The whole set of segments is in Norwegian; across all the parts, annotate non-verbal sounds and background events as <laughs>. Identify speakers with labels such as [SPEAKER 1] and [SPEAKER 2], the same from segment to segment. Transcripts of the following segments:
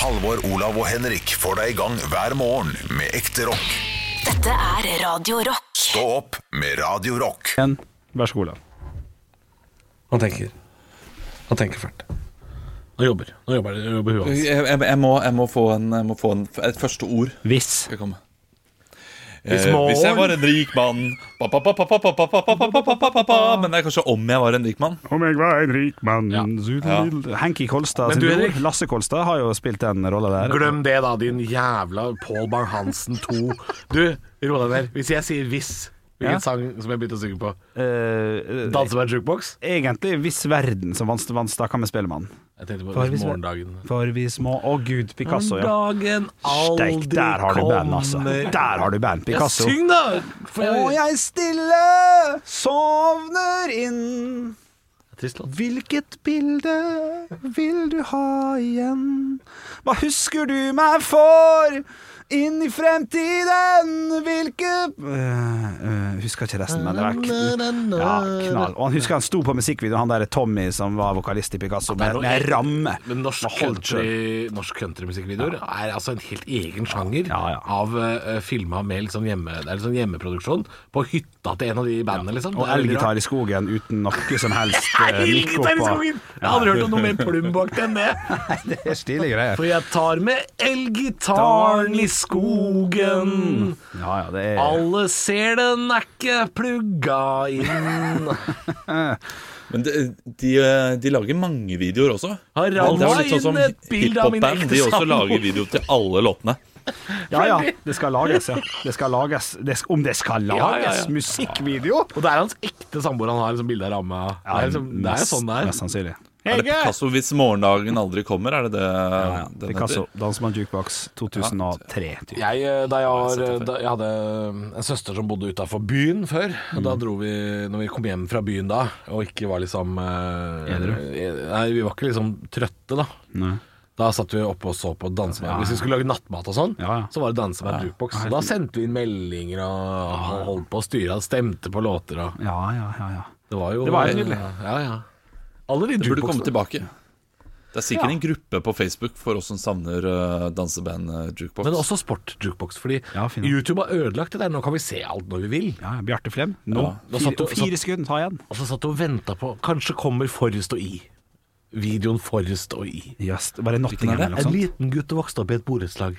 [SPEAKER 1] Halvor, Olav og Henrik får deg i gang hver morgen med ekte rock.
[SPEAKER 2] Dette er Radio Rock.
[SPEAKER 1] Stå opp med Radio Rock.
[SPEAKER 3] En. Vær så god, Olav.
[SPEAKER 4] Han tenker. Han tenker fælt.
[SPEAKER 5] Nå jobber, nå jobber, nå jobber huet hans.
[SPEAKER 4] Jeg, jeg, jeg, må, jeg må få, en, jeg må få en, et første ord.
[SPEAKER 3] Hvis.
[SPEAKER 4] Skal komme.
[SPEAKER 5] Hvis
[SPEAKER 4] Eh,
[SPEAKER 5] morgen-
[SPEAKER 4] hvis jeg var en rik mann Ba, ba, ba, ba, ba, ba, ba, ba, ba, ba, ba, ba, ba, ba. Men det er kanskje om jeg var en rik mann.
[SPEAKER 3] Om jeg var en rik mann
[SPEAKER 5] Ja.
[SPEAKER 3] Henki Kolstad sin
[SPEAKER 5] Men du,
[SPEAKER 3] bror,
[SPEAKER 5] Henrik?
[SPEAKER 3] Lasse Kolstad, har jo spilt den rolla der.
[SPEAKER 5] Glem det, da, din jævla Paul Bang-Hansen 2. Du, ro deg ned. Hvis jeg sier 'Hvis', hvilken
[SPEAKER 3] Ja.
[SPEAKER 5] sang som jeg begynte å synge på?
[SPEAKER 3] Eh, eh,
[SPEAKER 5] Danse med en jukebox?
[SPEAKER 3] egentlig Hvis verden som vans- vanstaka med Spellemann.
[SPEAKER 5] Jeg tenkte på
[SPEAKER 3] Hva er
[SPEAKER 5] hvis
[SPEAKER 3] hvis-
[SPEAKER 5] morgendagen.
[SPEAKER 3] For vi små Å gud, Picasso, ja.
[SPEAKER 5] Morgendagen aldri
[SPEAKER 3] Steik, der har du band, altså.
[SPEAKER 5] kommer.
[SPEAKER 3] Der har du band,
[SPEAKER 5] Ja,
[SPEAKER 3] Picasso.
[SPEAKER 5] syng, da! For
[SPEAKER 3] Og
[SPEAKER 5] jeg,
[SPEAKER 3] jeg stille sovner inn.
[SPEAKER 5] Trist låt.
[SPEAKER 3] Hvilket bilde vil du ha igjen? Hva husker du meg for? Inn i fremtiden, hvilke Øh, øh, Husker ikke resten, men det var kn ja, knall. Og han husker han sto på musikkvideoen, han der Tommy som var vokalist i Picasso,
[SPEAKER 5] er
[SPEAKER 3] med,
[SPEAKER 5] noe
[SPEAKER 3] med
[SPEAKER 5] helt-
[SPEAKER 3] ramme.
[SPEAKER 5] Men norsk
[SPEAKER 3] Og holdt selv.
[SPEAKER 5] country- norsk countrymusikkvideoer er altså en helt egen sjanger
[SPEAKER 3] Ja, ja.
[SPEAKER 5] av uh, filma med litt sånn hjemme, det er litt sånn hjemmeproduksjon på hytta til en av de bandene, liksom.
[SPEAKER 3] Og
[SPEAKER 5] Det er veldig rart.
[SPEAKER 3] elgitar i skogen uten noe som
[SPEAKER 5] <laughs>
[SPEAKER 3] helst eh, mikk
[SPEAKER 5] Elgitar i
[SPEAKER 3] oppå.
[SPEAKER 5] skogen! Jeg har aldri hørt om noe mer plumbakt enn det.
[SPEAKER 3] Det er stilige greier.
[SPEAKER 5] For jeg tar med elgitaren i skogen.
[SPEAKER 3] Ja, ja, det er
[SPEAKER 5] Alle ser den er ikke plugga inn.
[SPEAKER 4] Men de, de, eh, de lager mange videoer også.
[SPEAKER 5] Har
[SPEAKER 4] Det er
[SPEAKER 5] ramla
[SPEAKER 4] litt sånn
[SPEAKER 5] inn
[SPEAKER 4] som
[SPEAKER 5] et bilde av min
[SPEAKER 4] hiphop-band.
[SPEAKER 5] ekte
[SPEAKER 4] De også lager
[SPEAKER 5] samboer.
[SPEAKER 4] video til alle låtene.
[SPEAKER 3] Ja, ja. Det skal lages, ja. Det skal lages. Det, sk- om det skal lages
[SPEAKER 5] Ja, ja, ja.
[SPEAKER 3] musikkvideo?
[SPEAKER 5] Og det er hans ekte samboer han har liksom bilde av ramma. Det er liksom, det er jo sånn det er.
[SPEAKER 3] Mest sannsynlig.
[SPEAKER 4] Er det Picasso 'Hvis morgendagen aldri kommer'? Er det det den
[SPEAKER 3] Picasso,
[SPEAKER 4] heter?
[SPEAKER 3] Dansemann Jukebox 2003. typ.
[SPEAKER 5] Jeg, eh, da jeg, var, eh, da, jeg hadde eh, en søster som bodde utafor byen før. og
[SPEAKER 3] Mm.
[SPEAKER 5] Da dro vi, når vi kom hjem fra byen da, og ikke var liksom eh, eh, Nei, vi var ikke liksom trøtte, da.
[SPEAKER 3] Nei.
[SPEAKER 5] Da satt vi oppe og så på danse med Hvis vi skulle lage nattmat og sånn,
[SPEAKER 3] Ja, ja.
[SPEAKER 5] så var det danse med jukebox. Så Da sendte vi inn meldinger og holdt på å styre, og stemte på låter og
[SPEAKER 3] Ja, ja, ja. ja.
[SPEAKER 5] Det var jo
[SPEAKER 3] Det var
[SPEAKER 5] eh,
[SPEAKER 3] nydelig.
[SPEAKER 5] Ja, ja. Alle de
[SPEAKER 4] Det burde komme
[SPEAKER 5] jukeboxene.
[SPEAKER 4] tilbake. Det er sikkert en gruppe på Facebook for oss som savner eh, danseband eh, jukebox.
[SPEAKER 5] Men også sport-jukebox, fordi
[SPEAKER 3] Ja, fin, ja.
[SPEAKER 5] YouTube har ødelagt det der. Nå kan vi se alt når vi vil.
[SPEAKER 3] ja ja, Bjarte Flem, nå.
[SPEAKER 5] Ja. Da satt
[SPEAKER 3] Fire,
[SPEAKER 5] du-
[SPEAKER 3] fire sekunder, ta igjen.
[SPEAKER 5] Og så satt du og venta på Kanskje kommer Forrest og I. Videoen Forrest og I.
[SPEAKER 3] Yes, var det Nottingham
[SPEAKER 4] det?
[SPEAKER 3] eller noe
[SPEAKER 5] En
[SPEAKER 3] sånt?
[SPEAKER 5] liten gutt vokste opp i et borettslag.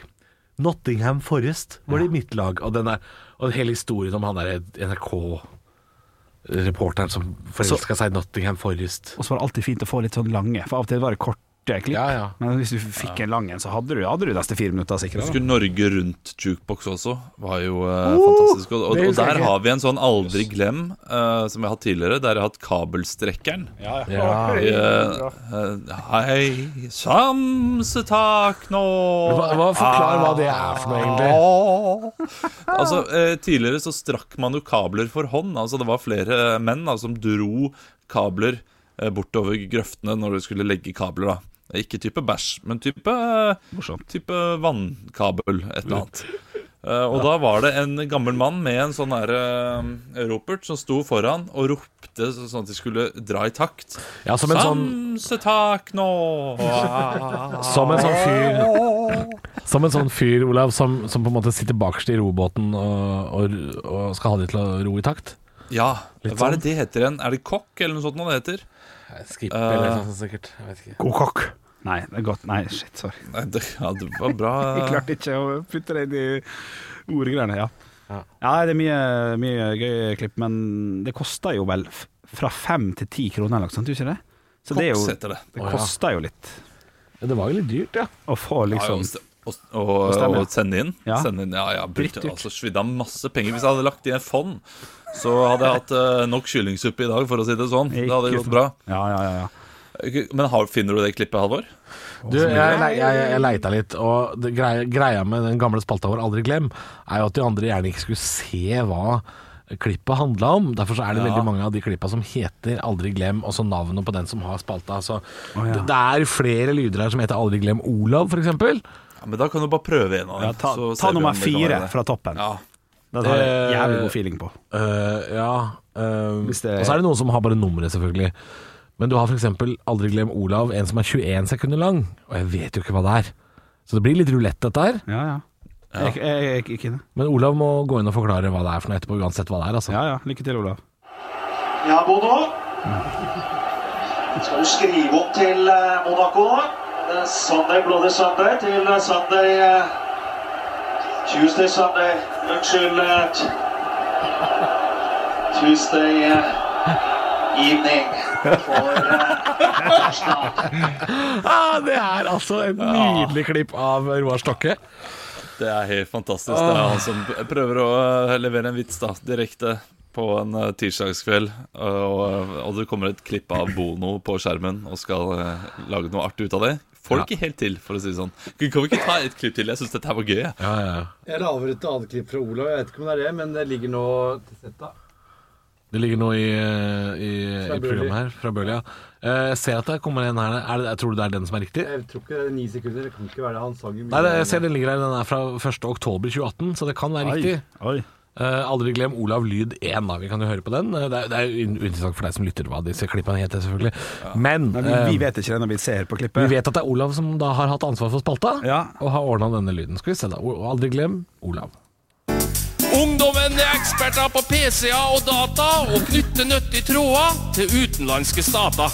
[SPEAKER 5] Nottingham Forrest var det i mitt lag. Og, den der, og hele historien om han der NRK-reporteren som forelska seg i Nottingham Forrest.
[SPEAKER 3] Og så var det alltid fint å få litt sånn lange, for av og til var det korte klipp.
[SPEAKER 5] Ja, ja.
[SPEAKER 3] Men hvis du fikk en lang en, så hadde du, hadde du neste fire minutter
[SPEAKER 4] Jeg
[SPEAKER 3] sikkert.
[SPEAKER 4] husker Norge Rundt jukebox også. Var jo eh, fantastisk. Og, og,
[SPEAKER 5] det
[SPEAKER 4] og
[SPEAKER 5] husker jeg
[SPEAKER 4] der
[SPEAKER 5] ikke.
[SPEAKER 4] har vi en sånn aldri glem eh, som vi har hatt tidligere. Der har jeg hatt kabelstrekkeren.
[SPEAKER 5] Ja.
[SPEAKER 4] Eh, eh, hei, samsetak nå
[SPEAKER 5] Hva, hva, forklar hva det er for noe, egentlig.
[SPEAKER 4] <laughs> Altså, eh, Tidligere så strakk man jo kabler for hånd. Altså Det var flere eh, menn da, som dro kabler eh, bortover grøftene når du skulle legge kabler. da Ikke type bæsj, men type, eh,
[SPEAKER 3] Morsomt.
[SPEAKER 4] type vannkabel, et
[SPEAKER 5] <laughs>
[SPEAKER 4] eller annet. Eh, og da var det en gammel mann med en sånn der, eh, ropert som sto foran og ropte så- sånn at de skulle dra i takt.
[SPEAKER 5] Ja, som en sånn,
[SPEAKER 4] Samsetak nå!
[SPEAKER 5] <laughs> som en sånn fyr Som en sånn fyr, Olav, som, som på en måte sitter bakerst i robåten og, og, og skal ha de til å ro i takt.
[SPEAKER 4] Ja,
[SPEAKER 5] Litt sånn.
[SPEAKER 4] hva er det det heter igjen? Er det kokk, eller noe sånt noe det heter?
[SPEAKER 5] Skip
[SPEAKER 4] eller noe
[SPEAKER 5] sikkert. Jeg vet ikke.
[SPEAKER 3] God kokk. Nei, det er godt. Nei, shit, sorry.
[SPEAKER 4] Nei, det, ja, det var bra.
[SPEAKER 3] Jeg klarte ikke å putte det inn i ordgreiene, ja.
[SPEAKER 5] Ja.
[SPEAKER 3] Ja, det er mye, mye gøye klipp, men det koster jo vel f- fra fem til ti kroner eller noe sånt, gjør ikke det? Så det, er
[SPEAKER 4] Koks
[SPEAKER 3] jo,
[SPEAKER 4] heter det.
[SPEAKER 3] det
[SPEAKER 5] Å, ja.
[SPEAKER 3] koster jo litt
[SPEAKER 5] Ja, Det var jo litt dyrt, ja.
[SPEAKER 3] å få liksom
[SPEAKER 4] Ja, og, og, og,
[SPEAKER 3] stemme.
[SPEAKER 4] og sende inn. Ja,
[SPEAKER 3] Ja.
[SPEAKER 4] sende inn, ja, ja brukte,
[SPEAKER 3] Drittdyrt.
[SPEAKER 4] altså, svidde av masse penger. Hvis jeg hadde lagt i en fond, så hadde jeg hatt eh, nok kyllingsuppe i dag, for å si det sånn. Det hadde
[SPEAKER 3] Ikke
[SPEAKER 4] gått bra.
[SPEAKER 3] Ja, ja, ja. ja.
[SPEAKER 4] Men har, finner du det klippet, Halvor?
[SPEAKER 5] Du, jeg, jeg, jeg, jeg leita litt, og det greia, greia med den gamle spalta vår Aldri glem, er jo at de andre gjerne ikke skulle se hva klippet handla om. Derfor så er det
[SPEAKER 4] Ja.
[SPEAKER 5] veldig mange av de klippa som heter Aldri glem, og så navnet på den som har spalta. Så
[SPEAKER 3] ja.
[SPEAKER 5] det, det er flere lyder her som heter Aldri glem Olav, f.eks.
[SPEAKER 4] Ja, men da kan du bare prøve en av dem.
[SPEAKER 3] ja ta,
[SPEAKER 4] så ser
[SPEAKER 3] ta
[SPEAKER 4] vi om
[SPEAKER 3] nummer
[SPEAKER 4] det kan være
[SPEAKER 3] fire
[SPEAKER 4] det.
[SPEAKER 3] fra toppen.
[SPEAKER 4] Ja.
[SPEAKER 3] Den har jeg
[SPEAKER 5] Eh,
[SPEAKER 3] jævlig god feeling på.
[SPEAKER 5] Øh, ja. øh,
[SPEAKER 3] Hvis det-
[SPEAKER 5] Og så er det noen som har bare nummeret, selvfølgelig. Men du har f.eks. Aldri glem Olav, en som er 21 sekunder lang. Og jeg vet jo ikke hva det er. Så det blir litt rulett, dette her.
[SPEAKER 3] Ja, ja. Jeg, jeg, jeg, jeg, ikke det.
[SPEAKER 5] Men Olav må gå inn og forklare hva det er for noe etterpå, uansett hva det er. Altså.
[SPEAKER 3] Ja, ja. Lykke til, Olav.
[SPEAKER 6] Ja, Bono. Skal du skrive opp til eh, Monaco nå? Eh, Sunday Bloody Sunday til eh, Sunday eh, Tuesday Sunday Unnskyld. eh, t- Tuesday eh, evening for eh, Arsenal.
[SPEAKER 5] Ah, det er altså et nydelig klipp av Roar Stokke.
[SPEAKER 4] Det er helt fantastisk. Det er han som prøver å eh, levere en vits da, direkte på en eh, tirsdagskveld. Og, og det kommer et klipp av Bono på skjermen og skal eh, lage noe artig ut av det. Får det ikke helt til, for å si det sånn. Kan vi ikke ta et klipp til? Jeg syns dette her var gøy. jeg.
[SPEAKER 5] Ja, ja.
[SPEAKER 7] Jeg laver et annet klipp fra Olav. Jeg vet ikke om det er det, men det ligger nå til setta.
[SPEAKER 5] Det ligger noe i, eh, i,
[SPEAKER 7] Fra
[SPEAKER 5] i programmet her fra Bøhlia. Eh, Jeg ser at det kommer en her. Er det, jeg tror du det er den som er riktig?
[SPEAKER 7] Jeg tror ikke det er ni sekunder. Det kan ikke være det. Han sang jo mye.
[SPEAKER 5] Nei, det, jeg ser den ligger her. Den er fra 1.10.2018, så det kan være riktig.
[SPEAKER 3] Oi.
[SPEAKER 5] Eh, aldri glem Olav Lyd 1, da. Vi kan jo høre på den. Eh, Det er, det er jo in- interessant for deg som lytter hva disse klippene heter, selvfølgelig. Men
[SPEAKER 3] Nei, vi,
[SPEAKER 4] Eh,
[SPEAKER 3] vi vet ikke det når vi ser på
[SPEAKER 5] eh, vi
[SPEAKER 3] klippet.
[SPEAKER 5] vet at det er Olav som da har hatt ansvar for spalta,
[SPEAKER 3] Ja.
[SPEAKER 5] og har ordna denne lyden. Skal vi se, da. O- Aldri glem Olav.
[SPEAKER 8] Ungdommen er eksperter på PC-er og data og knytter nyttige tråder til utenlandske stater.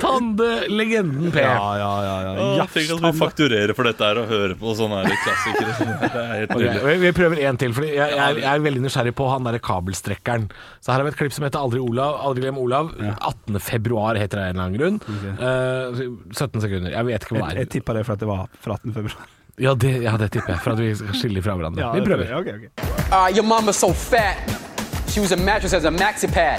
[SPEAKER 5] Tande legenden P.
[SPEAKER 3] Ja, ja, ja. ja.
[SPEAKER 4] Åh, Tenk at vi fakturerer for dette her og hører på sånne her
[SPEAKER 3] <laughs>
[SPEAKER 4] klassikere. Det er helt
[SPEAKER 5] Ok,
[SPEAKER 4] nydelig.
[SPEAKER 5] vi- vi prøver en til, Fordi jeg, jeg, er- jeg er veldig nysgjerrig på han derre kabelstrekkeren. Så her har vi et klipp som heter Aldri, Olav, aldri glem Olav. 18. februar heter det av en eller annen grunn. Eh, 17 sekunder. Jeg vet ikke
[SPEAKER 3] Jeg,
[SPEAKER 5] hva det
[SPEAKER 3] jeg
[SPEAKER 5] er.
[SPEAKER 3] tippa det for at det var fra 18. februar.
[SPEAKER 5] Ja, det, ja, det tipper jeg, for at vi skal skille fra hverandre. vi prøver.
[SPEAKER 3] Ja, ok, ok.
[SPEAKER 9] Uh, your mama's so fat, she used a mattress as a maxi pad.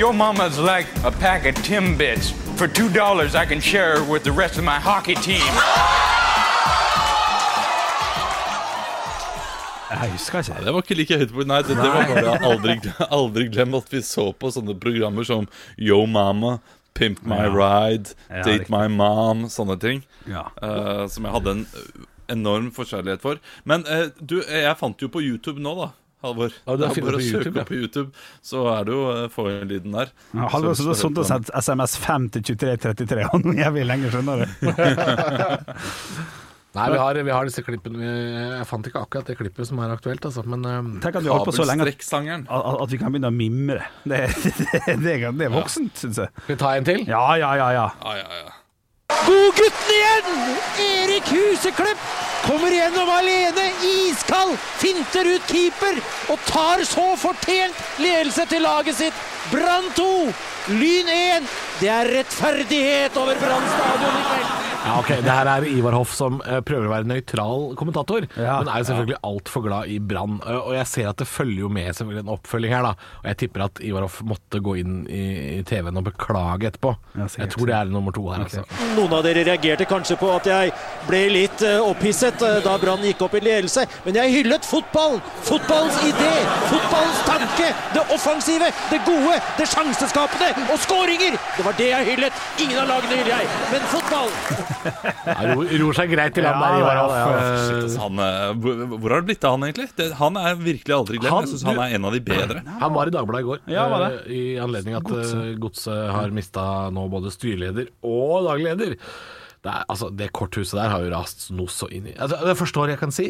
[SPEAKER 10] Your mama's like a pack of Timbits. For $2, I can share her with the rest of my hockey team.
[SPEAKER 3] Jeg husker ikke.
[SPEAKER 4] Det var ikke like høyt på Nei, det, det var bare aldri, aldri glem at vi så på sånne programmer som Yo Mama, Pimp My Ride,
[SPEAKER 3] Ja,
[SPEAKER 4] Date
[SPEAKER 3] riktig.
[SPEAKER 4] My Mom, sånne ting.
[SPEAKER 3] Ja.
[SPEAKER 4] eh, som jeg hadde en eh, enorm forkjærlighet for. Men eh, du, jeg fant jo på YouTube nå, da. Halvor.
[SPEAKER 5] Ja, du har funnet på
[SPEAKER 4] bare å
[SPEAKER 5] YouTube,
[SPEAKER 4] søke
[SPEAKER 5] ja.
[SPEAKER 4] opp på YouTube, så er det jo uh, få inn lyden der.
[SPEAKER 3] Ja, Halvor
[SPEAKER 4] Så
[SPEAKER 3] så
[SPEAKER 4] hvis
[SPEAKER 3] sånt
[SPEAKER 4] dere-
[SPEAKER 3] og sendt SMS 5 til 2333, og nå er vi lenger skjønner du.
[SPEAKER 5] <laughs> Nei, vi har, vi har disse klippene. Vi- Jeg fant ikke akkurat det klippet som er aktuelt, altså, men eh,
[SPEAKER 3] Tenk at vi har holdt på så lenge at,
[SPEAKER 4] Kabelstrekksangeren.
[SPEAKER 3] at at vi kan begynne å mimre. Det, <laughs> det, det, det er voksent, syns jeg.
[SPEAKER 5] skal vi ta en til?
[SPEAKER 3] Ja, ja, ja. ja.
[SPEAKER 4] Ja, ja, ja.
[SPEAKER 11] Godgutten igjen! Erik Huseklepp kommer gjennom alene, iskald, finter ut keeper og tar så fortjent ledelse til laget sitt. Brann 2, Lyn 1. Det er rettferdighet over Brann stadion i kveld.
[SPEAKER 5] Ja, ok, Det her er Ivar Hoff som eh, prøver å være nøytral kommentator,
[SPEAKER 3] Ja.
[SPEAKER 5] men er jo selvfølgelig altfor glad i Brann. Eh, og jeg ser at det følger jo med selvfølgelig en oppfølging her, da. Og jeg tipper at Ivar Hoff måtte gå inn i, i TV-en og beklage etterpå.
[SPEAKER 3] Ja, sikkert.
[SPEAKER 5] jeg tror det er nummer to her, altså.
[SPEAKER 11] Noen av dere reagerte kanskje på at jeg ble litt eh, opphisset eh, da Brann gikk opp i ledelse, men jeg hyllet fotballen! Fotballens idé, fotballens tanke, det offensive, det gode, det sjanseskapende og skåringer! Det var det jeg hyllet. Ingen av lagene hyller jeg, men fotballen!
[SPEAKER 5] Ja, ro, ror seg greit til land
[SPEAKER 3] Ja,
[SPEAKER 5] der, Ivar
[SPEAKER 3] ja,
[SPEAKER 5] Hoff.
[SPEAKER 3] ja, ja.
[SPEAKER 5] Eh,
[SPEAKER 4] Shit, ass, han, eh, hvor, hvor har det blitt av han, egentlig? Det, han er virkelig aldri glemt.
[SPEAKER 5] Han-
[SPEAKER 4] jeg syns han er en av de bedre.
[SPEAKER 5] Han var i Dagbladet i går,
[SPEAKER 3] Ja, var det?
[SPEAKER 5] eh, i anledning at eh, Godset har mista nå både styreleder og dagleder. Det, er, altså, det korthuset der har jo rast noe så inn i altså, Jeg forstår jeg kan si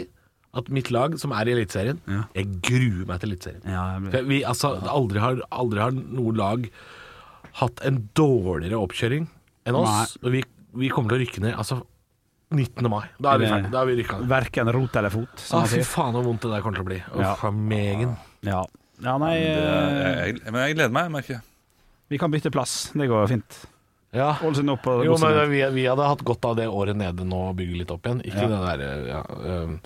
[SPEAKER 5] at mitt lag, som er i Eliteserien Jeg gruer meg til Eliteserien.
[SPEAKER 3] Ja, jeg blir-
[SPEAKER 5] For Vi, altså, aldri, har, aldri har noe lag hatt en dårligere oppkjøring enn oss. Og vi, vi kommer til å rykke ned. Altså 19. mai. Da er vi ferdig. Da er vi rykka ned.
[SPEAKER 3] Verken rot eller fot, som
[SPEAKER 5] Ah,
[SPEAKER 3] man
[SPEAKER 5] fy
[SPEAKER 3] sier.
[SPEAKER 5] faen, så vondt det der kommer til å bli.
[SPEAKER 3] Ja.
[SPEAKER 5] Uff a megen.
[SPEAKER 3] Ja. ja, nei eh,
[SPEAKER 4] Jeg, jeg, men jeg gleder meg, jeg merker jeg.
[SPEAKER 3] Vi kan bytte plass. Det går fint.
[SPEAKER 5] Ja.
[SPEAKER 3] Ålesund opp og
[SPEAKER 5] Jo, men
[SPEAKER 3] Godset ned.
[SPEAKER 5] vi, vi hadde hatt godt av det året nede nå og bygge litt opp igjen. Ikke det der ja, øhm.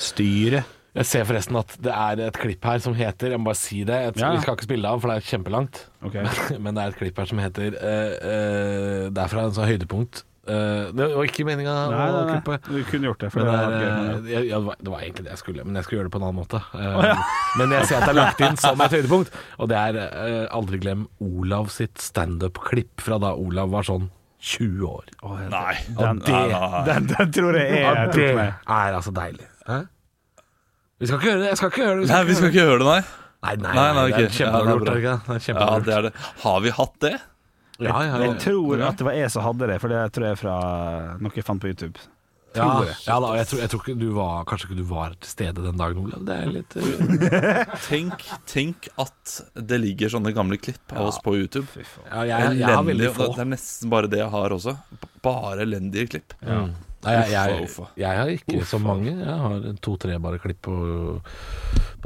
[SPEAKER 3] Styre.
[SPEAKER 5] Jeg ser forresten at det er et klipp her som heter Jeg må bare si det. Jeg,
[SPEAKER 3] Ja.
[SPEAKER 5] Vi skal ikke spille det av, for det er kjempelangt.
[SPEAKER 3] Ok.
[SPEAKER 5] <laughs> Men det er et klipp her som heter øh, øh, Det er fra en sånn høydepunkt. Øh, det var ikke meninga å
[SPEAKER 3] Nei, nei,
[SPEAKER 5] klippe.
[SPEAKER 3] nei. Du kunne gjort det. For
[SPEAKER 5] Men
[SPEAKER 3] det
[SPEAKER 5] det,
[SPEAKER 3] hadde vært gøy,
[SPEAKER 5] er,
[SPEAKER 3] men ja.
[SPEAKER 5] øh, jeg, ja, det var- det var egentlig det jeg skulle, men jeg skulle gjøre det på en annen måte. Øh, <laughs> Men jeg ser at det er lagt inn som et høydepunkt, og det er øh, Aldri glem Olav sitt standup-klipp fra da Olav var sånn 20 år.
[SPEAKER 4] Nei.
[SPEAKER 3] Den,
[SPEAKER 5] det-
[SPEAKER 3] den, den tror jeg er
[SPEAKER 5] Ja,
[SPEAKER 3] jeg
[SPEAKER 5] det
[SPEAKER 3] tok
[SPEAKER 5] er
[SPEAKER 3] med.
[SPEAKER 5] altså deilig. Hæ? Vi skal ikke gjøre det. Jeg skal ikke gjøre det.
[SPEAKER 4] Nei, vi skal ikke høre det, nei.
[SPEAKER 5] Nei, nei,
[SPEAKER 4] Nei, nei,
[SPEAKER 5] det er
[SPEAKER 4] ok.
[SPEAKER 5] kjempedårlig gjort, er det
[SPEAKER 4] Ja,
[SPEAKER 5] ikke det? Det er
[SPEAKER 4] bra. Ja,
[SPEAKER 5] kjempedårlig
[SPEAKER 4] det er det. Har vi hatt det?
[SPEAKER 5] Ja, ja, ja.
[SPEAKER 3] Jeg tror at det var jeg som hadde det, for det tror jeg er fra noe jeg fant på YouTube.
[SPEAKER 5] Ja,
[SPEAKER 3] Tror jeg.
[SPEAKER 5] ja da, jeg tror, jeg tror ikke du var, kanskje ikke du var til stede den dagen, Olav. Det er litt eh,
[SPEAKER 4] Tenk, tenk at det ligger sånne gamle klipp av oss på YouTube.
[SPEAKER 5] ja, jeg, jeg har veldig
[SPEAKER 4] Elendige-
[SPEAKER 5] få.
[SPEAKER 4] Det er nesten bare det jeg har også. B- Bare elendige klipp.
[SPEAKER 5] Nei, jeg, jeg,
[SPEAKER 4] Uffa, uffa.
[SPEAKER 5] jeg har ikke så mange. Jeg har to-tre bare klipp på,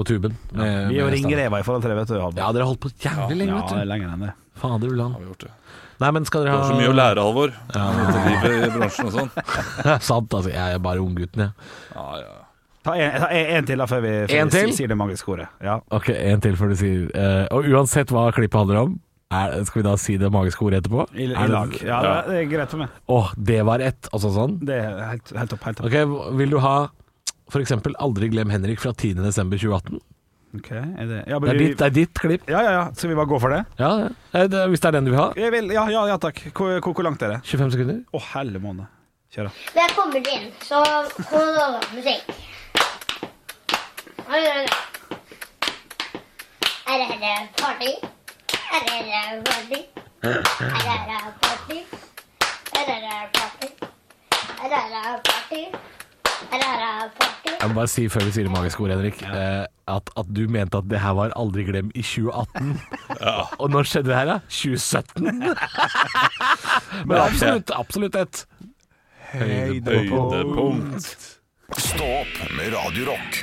[SPEAKER 5] på tuben. med-
[SPEAKER 3] Vi er jo
[SPEAKER 5] med standard.
[SPEAKER 3] ringreva i forhold til det, vet du. Halvor.
[SPEAKER 5] Ja, dere har holdt på jævlig lenge,
[SPEAKER 3] ja, det er
[SPEAKER 5] vet du.
[SPEAKER 3] lenger enn det.
[SPEAKER 5] Fader
[SPEAKER 4] Har
[SPEAKER 5] ulan.
[SPEAKER 4] vi gjort det.
[SPEAKER 5] Nei, men skal
[SPEAKER 4] Det
[SPEAKER 5] dere
[SPEAKER 4] var
[SPEAKER 5] ha
[SPEAKER 4] så mye å lære, Alvor. Dette livet i bransjen og sånn.
[SPEAKER 5] Sant, altså. Jeg er bare unggutten, jeg.
[SPEAKER 4] Ja, ja.
[SPEAKER 3] Ta en, ta en, en til da, før vi, før
[SPEAKER 5] En
[SPEAKER 3] vi
[SPEAKER 5] til?
[SPEAKER 3] si- sier det magiske ordet. Ja.
[SPEAKER 5] Ok, en til før du sier eh, Og uansett hva klippet handler om, er, skal vi da si det magiske ordet etterpå?
[SPEAKER 3] I,
[SPEAKER 5] Er
[SPEAKER 3] i
[SPEAKER 5] det-
[SPEAKER 3] lag. Ja, det, det er greit for meg.
[SPEAKER 5] Åh, det var ett, altså sånn.
[SPEAKER 3] Det er helt, helt opp. Helt opp.
[SPEAKER 5] Ok, hva- Eh, vil du ha for eksempel Aldri glem Henrik fra 10. desember 2018?
[SPEAKER 3] Ok, er det, ja,
[SPEAKER 5] Det
[SPEAKER 3] men
[SPEAKER 5] er
[SPEAKER 3] vi,
[SPEAKER 5] ditt, det er ditt klipp.
[SPEAKER 3] ja, ja, ja. Skal vi bare gå for det?
[SPEAKER 5] Ja, ja. Eh, det, hvis det er den du vil ha.
[SPEAKER 3] Jeg vil, ja, ja, ja takk. Hvor, hvor, hvor langt er det?
[SPEAKER 5] 25 sekunder.
[SPEAKER 3] Å, helle måned. Kjør, da.
[SPEAKER 12] Der kommer du inn, så kommer det over musikk. Oi, oi, oi. Er det her party? Er det her party? Er det her party? Er det her party? Er det her party? Er det her party?
[SPEAKER 5] Jeg må bare si før vi sier det magiske ordet, Henrik, eh, at, at du mente at det her var Aldri glem i 2018. Og når skjedde det her, da? 2017? Men absolutt, absolutt ett.
[SPEAKER 4] Høydepunkt.
[SPEAKER 1] Stå opp med Radio Rock.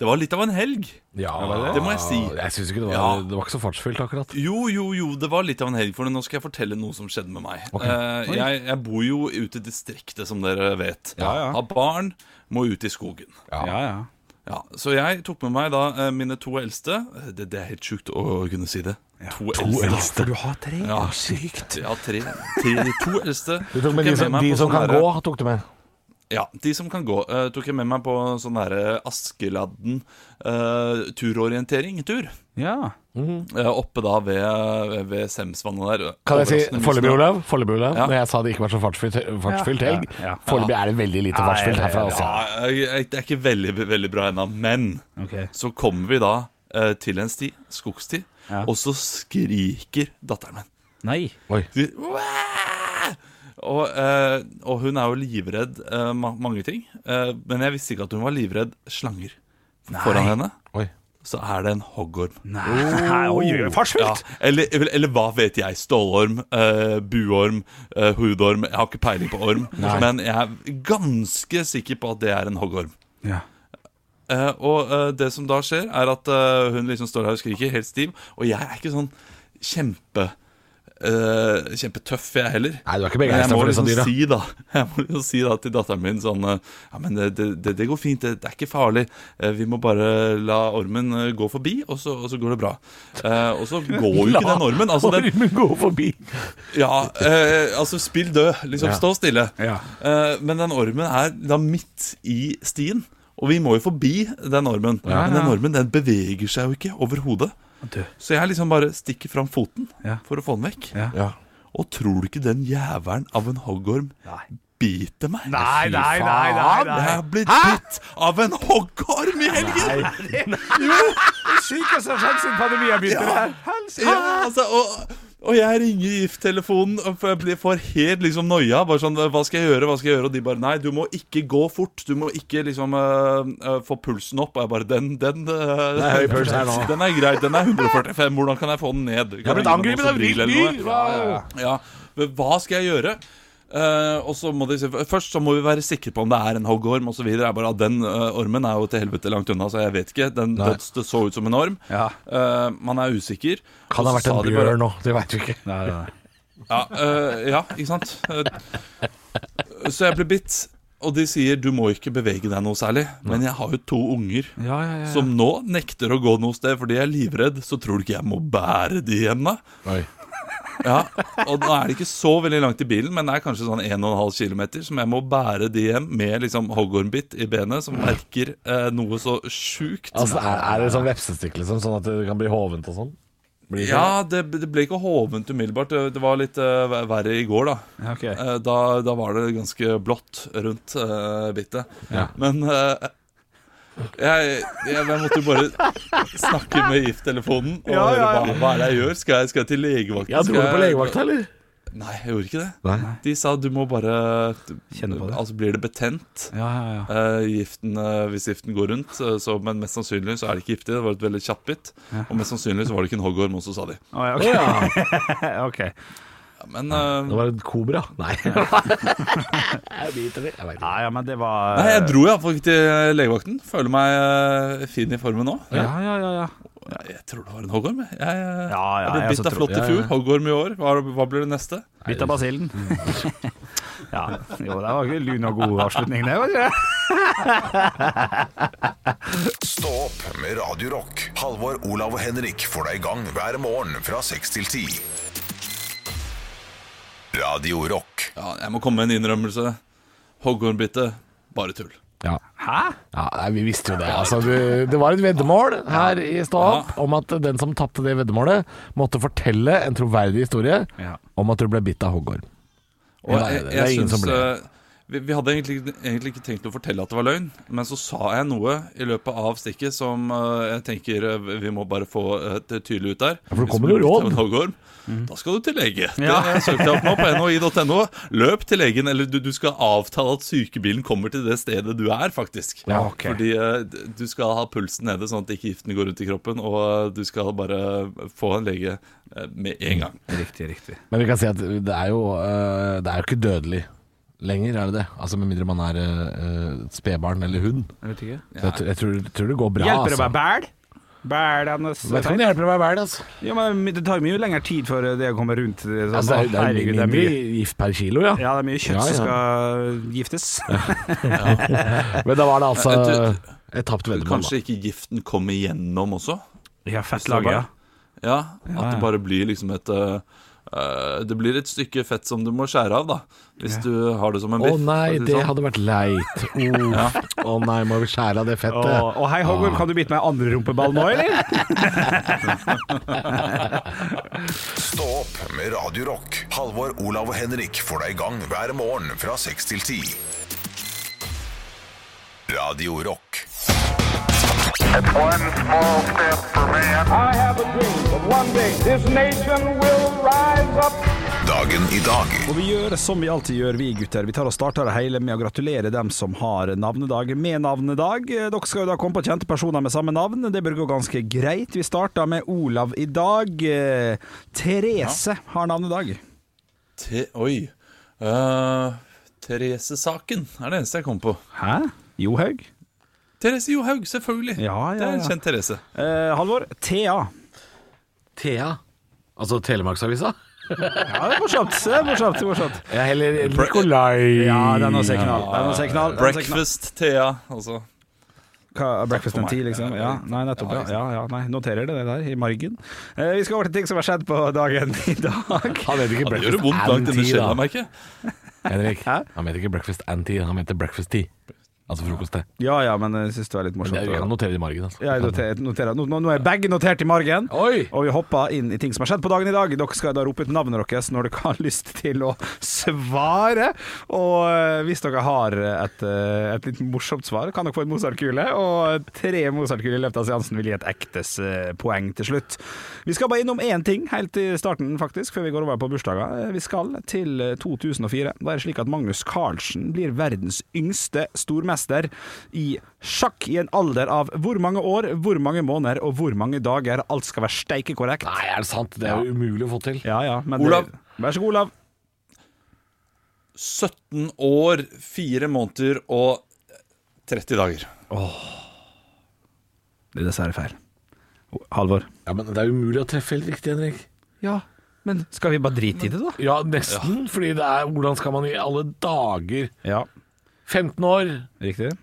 [SPEAKER 4] Det var litt av en helg.
[SPEAKER 5] Ja,
[SPEAKER 4] Det må jeg si.
[SPEAKER 5] Jeg syns ikke det var,
[SPEAKER 4] Ja.
[SPEAKER 5] det var ikke så fartsfylt akkurat.
[SPEAKER 4] Jo, jo, jo, det var litt av en helg for det. Nå skal jeg fortelle noe som skjedde med meg. Eh, jeg, jeg bor jo ute i distriktet, som dere vet.
[SPEAKER 3] ja.
[SPEAKER 4] Har barn, må ut i skogen.
[SPEAKER 3] Ja, ja.
[SPEAKER 4] Ja, så jeg tok med meg da eh, mine to eldste. Eh, Det, det er helt sjukt å kunne si det. To, eldste.
[SPEAKER 3] For du har tre?
[SPEAKER 4] Ja, sykt. Ja, tre, tre, to eldste.
[SPEAKER 5] Du tok med de
[SPEAKER 4] jeg
[SPEAKER 5] som,
[SPEAKER 4] meg
[SPEAKER 5] de
[SPEAKER 4] på
[SPEAKER 5] som
[SPEAKER 4] sånn
[SPEAKER 5] kan
[SPEAKER 4] derre-
[SPEAKER 5] gå, tok du med.
[SPEAKER 4] Ja, de som kan gå. eh, tok jeg med meg på sånn derre Askeladden eh, turorientering-tur.
[SPEAKER 3] Ja.
[SPEAKER 4] Eh, oppe da ved, eh, ved Semsvannet der.
[SPEAKER 5] Kan jeg si
[SPEAKER 4] Overraskende
[SPEAKER 5] foreløpig,
[SPEAKER 4] mye snø.
[SPEAKER 5] Olav? Foreløpig, Olav.
[SPEAKER 4] Ja.
[SPEAKER 5] Når jeg sa det ikke var så fartsfylt, fartsfylt helg,
[SPEAKER 3] Ja, ja.
[SPEAKER 5] foreløpig er det veldig lite fartsfylt herfra. Altså.
[SPEAKER 4] Ja, jeg- jeg- det er ikke veldig, veldig bra ennå, men
[SPEAKER 3] Ok.
[SPEAKER 4] så kommer vi da eh, til en sti, skogsti,
[SPEAKER 3] Ja.
[SPEAKER 4] og så skriker datteren min.
[SPEAKER 3] Nei.
[SPEAKER 4] De- «Wæ!» Og, eh, og hun er jo livredd eh, ma mange ting, eh, men jeg visste ikke at hun var livredd slanger. Foran henne
[SPEAKER 5] Oi.
[SPEAKER 4] så er det en hoggorm.
[SPEAKER 3] Nei, oi, oi, oi,
[SPEAKER 4] Ja,
[SPEAKER 3] fartsfylt!
[SPEAKER 4] eller, eller, eller hva vet jeg? Stålorm, eh, buorm, eh, hudorm. Jeg har ikke peiling på orm, men jeg er ganske sikker på at det er en hoggorm.
[SPEAKER 3] Ja.
[SPEAKER 4] Eh, og eh, det som da skjer, er at eh, hun liksom står her og skriker, helt stiv. Og jeg er ikke sånn kjempe eh, kjempetøff, jeg heller.
[SPEAKER 5] Nei, du er ikke
[SPEAKER 4] Men
[SPEAKER 5] begeistret
[SPEAKER 4] jeg må
[SPEAKER 5] for disse
[SPEAKER 4] liksom
[SPEAKER 5] dyra.
[SPEAKER 4] Si, da, <laughs> jeg må liksom si da til datteren min sånn eh, Ja, men det, det, det går fint, det, det er ikke farlig. Eh, vi må bare la ormen eh, gå forbi, og så, og så går det bra. Eh, og så går jo ikke den ormen. Altså, den,
[SPEAKER 5] Ormen går forbi.
[SPEAKER 4] ja, eh, altså spill død, liksom
[SPEAKER 5] Ja.
[SPEAKER 4] stå stille.
[SPEAKER 3] Ja.
[SPEAKER 4] Eh, men den ormen er da midt i stien, og vi må jo forbi den ormen. Men den ormen den beveger seg jo ikke overhodet.
[SPEAKER 3] Du.
[SPEAKER 4] Så jeg liksom bare stikker fram foten
[SPEAKER 3] Ja.
[SPEAKER 4] for å få den vekk.
[SPEAKER 3] Ja.
[SPEAKER 5] Ja.
[SPEAKER 4] Og tror du ikke den jævelen av en hoggorm biter meg?
[SPEAKER 3] Nei, nei, nei, nei, nei.
[SPEAKER 4] Jeg er blitt bitt av en hoggorm i helgen!
[SPEAKER 3] Sykeste som har skjedd siden pandemien begynte. det her. Helsike.
[SPEAKER 4] Ja, altså, og, og jeg ringer GIF-telefonen og får- blir- får helt liksom noia. Bare sånn, hva skal jeg gjøre, hva skal jeg gjøre? Og de bare, nei, du må ikke gå fort. Du må ikke liksom øh, øh, få pulsen opp. Og jeg bare, den, den øh,
[SPEAKER 5] er høy puls her nå.
[SPEAKER 4] Den er grei, den er 145. Hvordan kan jeg få den ned? Kan Jeg
[SPEAKER 5] blitt
[SPEAKER 4] ringe noen
[SPEAKER 5] angrepet
[SPEAKER 4] som
[SPEAKER 5] av
[SPEAKER 4] vil,
[SPEAKER 5] vilt
[SPEAKER 4] eller noe?
[SPEAKER 5] dyr! Hva-
[SPEAKER 4] Ja, men hva skal jeg gjøre? Eh, og så må de, se- først så må vi være sikre på om det er en hoggorm osv. Den eh, ormen er jo til helvete langt unna, så jeg vet ikke. Den,
[SPEAKER 5] Nei.
[SPEAKER 4] det, det så ut som en orm.
[SPEAKER 3] Ja.
[SPEAKER 4] Eh, man er usikker.
[SPEAKER 5] Kan det ha
[SPEAKER 4] Og
[SPEAKER 5] vært
[SPEAKER 4] så
[SPEAKER 5] en
[SPEAKER 4] sa de bare-
[SPEAKER 5] bjørn nå? Det veit vi ikke.
[SPEAKER 3] Nei, nei, nei.
[SPEAKER 4] ja, øh, ja, ikke sant? Eh, Så jeg ble bitt, og de sier du må ikke bevege deg noe særlig. Men jeg har jo to unger
[SPEAKER 3] Ja, ja, ja.
[SPEAKER 4] som nå nekter å gå noe sted fordi jeg er livredd. Så tror du ikke jeg må bære de hjem, da?
[SPEAKER 5] Oi.
[SPEAKER 4] Ja, og nå er det ikke så veldig langt i bilen, men det er kanskje sånn 1,5 km som jeg må bære de hjem med liksom hoggormbitt i benet, som merker eh, noe så sjukt.
[SPEAKER 5] Altså, er, er det sånn vepsestikk, liksom? Sånn at det kan bli hovent og sånn? Blir det-
[SPEAKER 4] Ja, det, det ble ikke hovent umiddelbart. Det, det var litt eh, ver- verre i går, da.
[SPEAKER 3] Ja, ok.
[SPEAKER 4] Eh, da. Da var det ganske blått rundt eh, bittet. Men eh, Jeg, jeg, jeg måtte jo bare snakke med GIF-telefonen og
[SPEAKER 5] Ja, ja, ja.
[SPEAKER 4] høre hva, hva er det jeg gjør. Skal jeg, skal jeg til legevakten?
[SPEAKER 5] Ja, dro
[SPEAKER 4] Skal
[SPEAKER 5] du på
[SPEAKER 4] jeg-
[SPEAKER 5] legevakta, eller?
[SPEAKER 4] Nei, jeg gjorde ikke det. De sa du må bare Kjenne på det. Altså blir det betent. Eh, giften, eh, hvis giften går rundt, eh, så, men mest sannsynlig så er det ikke giftig. Det var et veldig kjapt bitt.
[SPEAKER 3] Ja.
[SPEAKER 4] Og mest sannsynlig så var det ikke en hoggorm også, sa de.
[SPEAKER 3] Å, ja, ok. <laughs> ok.
[SPEAKER 4] Men eh,
[SPEAKER 5] Det var en kobra. Nei. jeg biter i. Jeg vet ikke.
[SPEAKER 3] Nei, ja, men det var
[SPEAKER 4] Nei, jeg dro iallfall til eh, legevakten. Føler meg eh, fin i formen nå.
[SPEAKER 3] Ja, ja, ja. ja.
[SPEAKER 4] Jeg, jeg tror det var en hoggorm. Jeg, jeg,
[SPEAKER 3] ja,
[SPEAKER 4] jeg
[SPEAKER 3] ja
[SPEAKER 4] ble
[SPEAKER 3] jeg
[SPEAKER 4] bitt
[SPEAKER 3] også
[SPEAKER 4] av
[SPEAKER 3] tror-
[SPEAKER 4] flått i
[SPEAKER 3] ja,
[SPEAKER 4] fjor.
[SPEAKER 3] ja.
[SPEAKER 4] Hoggorm i år. Hva, er det- hva blir det neste?
[SPEAKER 3] Bitt av basillen. <laughs> ja. Jo, det var ikke lun og god avslutning, det, var det?
[SPEAKER 1] Stå opp med Radio Rock. Halvor, Olav og Henrik får deg i gang hver morgen fra 6 til 10. Radio Rock.
[SPEAKER 4] Ja, jeg må komme med en innrømmelse. Hoggormbitte, bare tull.
[SPEAKER 5] Ja. Ja, nei, vi visste jo det. Altså, vi, det var et veddemål her i Stå opp om at den som tapte det veddemålet, måtte fortelle en troverdig historie
[SPEAKER 3] Ja.
[SPEAKER 5] om at du ble bitt av hoggorm.
[SPEAKER 4] Og
[SPEAKER 5] Det er
[SPEAKER 4] jeg,
[SPEAKER 5] det.
[SPEAKER 4] jeg,
[SPEAKER 5] Det er ingen som
[SPEAKER 4] synes,
[SPEAKER 5] ble.
[SPEAKER 4] eh, vi, vi hadde egentlig, egentlig ikke tenkt å fortelle at det var løgn, men så sa jeg noe i løpet av stikket som eh, jeg tenker eh, vi må bare få eh, det tydelig ut der.
[SPEAKER 5] Ja, for det
[SPEAKER 4] Hvis
[SPEAKER 5] kommer
[SPEAKER 4] du
[SPEAKER 5] jo råd. Mhm.
[SPEAKER 4] blir bitt av en hoggorm, Da skal du til lege. Det søkte jeg opp nå på nhi.no. Løp til legen, eller du, du skal avtale at sykebilen kommer til det stedet du er, faktisk.
[SPEAKER 3] Ja, ok.
[SPEAKER 4] Fordi eh, d- du skal ha pulsen nede, sånn at ikke giften går rundt i kroppen, og eh, du skal bare få en lege eh, med en gang.
[SPEAKER 3] Riktig, riktig.
[SPEAKER 5] Men vi kan si at det er jo, eh, det er jo ikke dødelig lenger, er det det? Altså Med mindre man er eh, et spedbarn eller hund.
[SPEAKER 3] Jeg vet ikke.
[SPEAKER 5] Så Jeg, tr- jeg tror, tror det går bra.
[SPEAKER 3] Hjelper det
[SPEAKER 5] altså.
[SPEAKER 3] å være bæl? Bælende
[SPEAKER 5] Vet ikke om det hjelper å være bæl, altså.
[SPEAKER 3] Ja, men Det tar jo mye lengre tid før det kommer rundt. Det, sånn,
[SPEAKER 5] altså det, er, det er
[SPEAKER 3] herregud,
[SPEAKER 5] mindre gift per kilo, ja.
[SPEAKER 3] Ja, det er mye kjøtt
[SPEAKER 5] Ja, ja.
[SPEAKER 3] som skal giftes.
[SPEAKER 5] Men da var det altså
[SPEAKER 4] Jeg
[SPEAKER 5] et tapt veddemål. da.
[SPEAKER 4] Kanskje ikke giften kommer igjennom også?
[SPEAKER 3] Ja, fettlaget. ja.
[SPEAKER 4] Ja,
[SPEAKER 3] Ja,
[SPEAKER 4] at
[SPEAKER 3] ja.
[SPEAKER 4] det bare blir liksom et øh, øh, Det blir et stykke fett som du må skjære av, da. Hvis
[SPEAKER 3] Ja.
[SPEAKER 4] du har det som en
[SPEAKER 5] Å
[SPEAKER 4] biff.
[SPEAKER 5] nei,
[SPEAKER 4] for å si
[SPEAKER 5] det
[SPEAKER 4] sånn.
[SPEAKER 5] hadde vært <laughs> leit. Å å nei, må vi skjære av det
[SPEAKER 3] Og,
[SPEAKER 5] fettet?
[SPEAKER 3] og hei, Hoggorm,
[SPEAKER 5] Ah.
[SPEAKER 3] kan du bite meg i andre rumpeball nå, eller?
[SPEAKER 1] Stå opp med Radio Rock. Halvor, Olav og Henrik får deg i gang hver morgen fra 6 til 10. Radio Rock.
[SPEAKER 13] I have a dream that one day this nation will rise up.
[SPEAKER 1] Dagen i dag.
[SPEAKER 3] Og vi gjør som vi alltid gjør, vi gutter. Vi tar og starter det hele med å gratulere dem som har navnedag med navnedag. Dere skal jo da komme på kjente personer med samme navn. Det bør gå ganske greit. Vi starter med Olav i dag. Eh, Therese har navnedag.
[SPEAKER 4] Te Oi. Øh, Therese Saken er det eneste jeg kom på.
[SPEAKER 3] Hæ? Johaug?
[SPEAKER 4] Therese Johaug, selvfølgelig.
[SPEAKER 3] Ja,
[SPEAKER 4] Det
[SPEAKER 3] ja,
[SPEAKER 4] er en
[SPEAKER 3] ja.
[SPEAKER 4] kjent Therese.
[SPEAKER 3] Eh, Halvor, Thea.
[SPEAKER 5] Thea? Altså Telemarksavisa?
[SPEAKER 3] Ja, det er morsomt. Det er morsomt, det er morsomt.
[SPEAKER 5] Ja, heller Nikolai.
[SPEAKER 3] Ja, den også er knall. Den også er knall. Den også er knall.
[SPEAKER 4] Breakfast Thea, altså.
[SPEAKER 3] Hva, breakfast
[SPEAKER 4] for
[SPEAKER 3] and tea,
[SPEAKER 4] meg.
[SPEAKER 3] liksom? Ja, nei, nettopp. Ja,
[SPEAKER 4] liksom.
[SPEAKER 3] ja, ja nei, noterer det, det der i margen. Eh, vi skal over til ting som har skjedd på dagen i dag.
[SPEAKER 5] Han heter ikke
[SPEAKER 4] Ja, det gjør
[SPEAKER 5] Breakfast
[SPEAKER 4] det vondt langt
[SPEAKER 5] and
[SPEAKER 4] inni
[SPEAKER 5] Tea,
[SPEAKER 4] sjela,
[SPEAKER 5] da.
[SPEAKER 4] merker jeg.
[SPEAKER 5] Henrik, han heter ikke Breakfast and Tea, han heter Breakfast Tea. Altså frokost-te.
[SPEAKER 3] Ja ja, men jeg syns det var litt
[SPEAKER 5] Men
[SPEAKER 3] morsomt.
[SPEAKER 5] det- Vi kan
[SPEAKER 3] å-
[SPEAKER 5] notere det i margen. Altså.
[SPEAKER 3] Ja, jeg noterer, noterer. Nå, nå nå er begge notert i margen,
[SPEAKER 5] Oi!
[SPEAKER 3] og vi hopper inn i ting som har skjedd på dagen i dag. Dere skal da rope ut navnet deres når dere har lyst til å svare. Og eh, hvis dere har et, eh, et litt morsomt svar, kan dere få en Mozart-kule. Og tre Mozart-kuler i løpet av seansen vil gi et ektes eh, poeng til slutt. Vi skal bare innom én ting helt i starten, faktisk, før vi går over på bursdager. Eh, Vi skal til eh, 2004. Da er det slik at Magnus Carlsen blir verdens yngste stormester i sjakk i en alder av hvor mange år, hvor mange måneder og hvor mange dager. Alt skal være steike korrekt.
[SPEAKER 5] Nei, er det sant? Det er jo umulig å få til.
[SPEAKER 3] Ja, ja, men
[SPEAKER 4] Olav.
[SPEAKER 3] Det, vær så god, Olav.
[SPEAKER 4] 17 år, 4 måneder og 30 dager.
[SPEAKER 3] Det er dessverre feil. Halvor.
[SPEAKER 5] Ja, men Det er umulig å treffe helt riktig, Henrik.
[SPEAKER 3] Ja, men skal vi bare drite i det, da?
[SPEAKER 5] Ja, nesten. Fordi det er Hvordan skal man i alle dager
[SPEAKER 3] Ja,
[SPEAKER 5] 15 år,
[SPEAKER 3] riktig.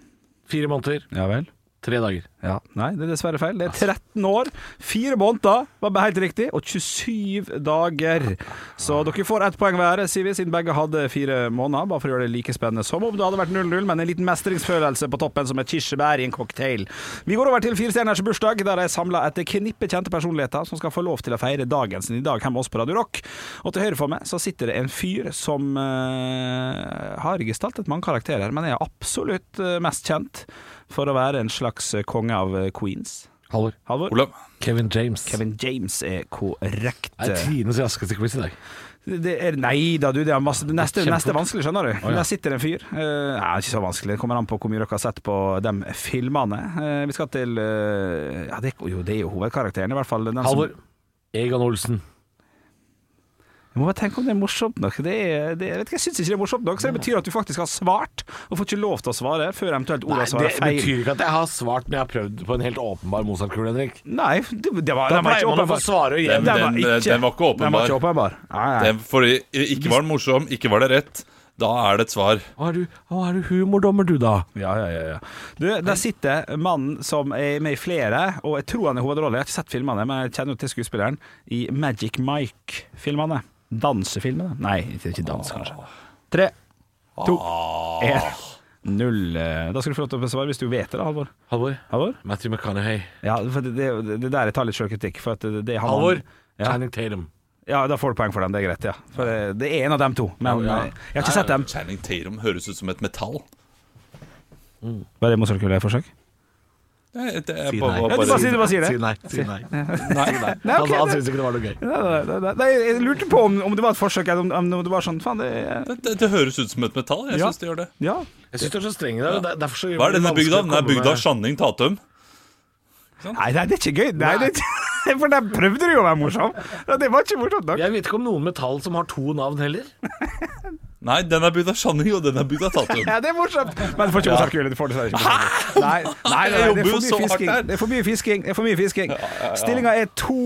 [SPEAKER 5] 4 måneder,
[SPEAKER 3] Ja vel.
[SPEAKER 5] 3 dager.
[SPEAKER 3] Ja. Nei, det er dessverre feil. Det er 13 år, 4 måneder, var bare helt riktig, og 27 dager. Så dere får ett poeng hver, sier vi, siden begge hadde fire måneder. Bare for å gjøre det like spennende som om det hadde vært 0-0, men en liten mestringsfølelse på toppen som et kirsebær i en cocktail. Vi går over til Firestjerners bursdag, der de samla et knippe kjente personligheter som skal få lov til å feire dagen sin i dag hjemme hos oss på Radio Rock. Og til høyre for meg så sitter det en fyr som eh, har gestaltet mange karakterer, men er absolutt eh, mest kjent for å være en slags konge av eh, Queens.
[SPEAKER 5] Halvor.
[SPEAKER 4] Olav.
[SPEAKER 5] Kevin eh. James.
[SPEAKER 3] Kevin James er korrekt.
[SPEAKER 5] Det er Trines raskeste quiz i dag.
[SPEAKER 3] Det er, nei da, du. Det er masse, det neste,
[SPEAKER 5] Kjempefort.
[SPEAKER 3] neste er vanskelig, skjønner du.
[SPEAKER 5] Å, ja.
[SPEAKER 3] Der sitter en fyr. Eh, nei, ikke så vanskelig. Det kommer an på hvor mye dere har sett på de filmene. Eh, vi skal til eh, ja, det, er- Jo, det er jo hovedkarakteren, i hvert fall. Den som-
[SPEAKER 5] Halvor. Egon Olsen.
[SPEAKER 3] Jeg må bare tenke om det er morsomt nok. Det er, det, jeg vet ikke, jeg syns ikke det er morsomt nok, så det betyr at du faktisk har svart, og får ikke lov til å svare før eventuelt
[SPEAKER 5] Nei,
[SPEAKER 3] ordet
[SPEAKER 5] det
[SPEAKER 3] svarer feil.
[SPEAKER 5] betyr ikke at jeg har svart, men jeg har prøvd på en helt åpenbar Mozart-kule, Henrik.
[SPEAKER 3] Nei, det, det var,
[SPEAKER 5] Da
[SPEAKER 3] den var
[SPEAKER 5] pleier
[SPEAKER 3] ikke
[SPEAKER 5] man å få
[SPEAKER 3] åpenbar.
[SPEAKER 5] svare og
[SPEAKER 4] Den,
[SPEAKER 5] Den var
[SPEAKER 4] den,
[SPEAKER 5] ikke-
[SPEAKER 4] eh, den var ikke åpenbar.
[SPEAKER 3] Den var ikke åpenbar. Nei, nei.
[SPEAKER 4] Den, fordi ikke var den morsom, ikke var det rett. Da er det et svar.
[SPEAKER 5] Hva er du, hva er du humordommer, du, da?
[SPEAKER 3] Ja, ja, ja, ja. Du, der sitter mannen som er med i flere, og jeg tror han er hovedrolle. Jeg har ikke sett filmene, men jeg kjenner jo til skuespilleren i Magic Mike-filmene. Dansefilmene? Nei, det er ikke dans, kanskje. Tre, to, én, null. Da skal du få lov til å besvare hvis du vet det, da, Halvor.
[SPEAKER 5] Halvor.
[SPEAKER 3] Halvor?
[SPEAKER 5] Matthew McConaughey.
[SPEAKER 3] Ja, for det, det, det der jeg tar litt sjølkritikk. For at det, det er han
[SPEAKER 5] Halvor.
[SPEAKER 3] Ja.
[SPEAKER 5] Channing Tatum.
[SPEAKER 3] ja, da får du poeng for den, det er greit. ja For det, det er en av dem to, men
[SPEAKER 5] Ja, ja.
[SPEAKER 3] eh, jeg har ikke sett dem.
[SPEAKER 4] Channing Tatum høres ut som et metall.
[SPEAKER 3] Var det Mozart-kuleforsøk?
[SPEAKER 4] Det, det er
[SPEAKER 3] Si
[SPEAKER 4] bare,
[SPEAKER 3] nei. Ja,
[SPEAKER 4] bare,
[SPEAKER 3] du bare sier det, bare sier det.
[SPEAKER 5] Si nei. Si nei. Si nei.
[SPEAKER 3] Nei, ok,
[SPEAKER 5] Han, han
[SPEAKER 3] det-
[SPEAKER 5] syntes ikke det var noe gøy.
[SPEAKER 3] Nei, nei, nei, nei, nei, jeg lurte på om, om det var et forsøk, eller om, om det var sånn Faen, det er
[SPEAKER 4] det, det høres ut som et metall. Jeg
[SPEAKER 3] Ja.
[SPEAKER 4] synes det gjør det.
[SPEAKER 3] Ja.
[SPEAKER 5] Jeg syns du er så streng i dag. det er derfor så
[SPEAKER 4] Hva er denne
[SPEAKER 5] vanskelig
[SPEAKER 4] bygda?
[SPEAKER 5] å
[SPEAKER 4] Den er
[SPEAKER 5] komme
[SPEAKER 4] bygda
[SPEAKER 5] med-
[SPEAKER 4] Sjanning Tatum.
[SPEAKER 3] Nei, nei, det er ikke gøy. Nei, det, <laughs> for der prøvde du jo å være morsom. Ja, Det var ikke morsomt nok.
[SPEAKER 5] Jeg vet ikke om noen metall som har to navn heller.
[SPEAKER 4] Nei, den er bygda Sjanning, og den er bygda Tatum.
[SPEAKER 3] Ja, det er morsomt. Men du får ikke Mozart Gule. Du får dessverre ikke Mozart Gule. Nei, nei, nei,
[SPEAKER 4] Jeg
[SPEAKER 3] det er
[SPEAKER 4] jobber jo
[SPEAKER 3] for mye
[SPEAKER 4] så hardt
[SPEAKER 3] fisking.
[SPEAKER 4] her.
[SPEAKER 3] Det er for mye fisking. Det er for mye fisking. Stillinga er to.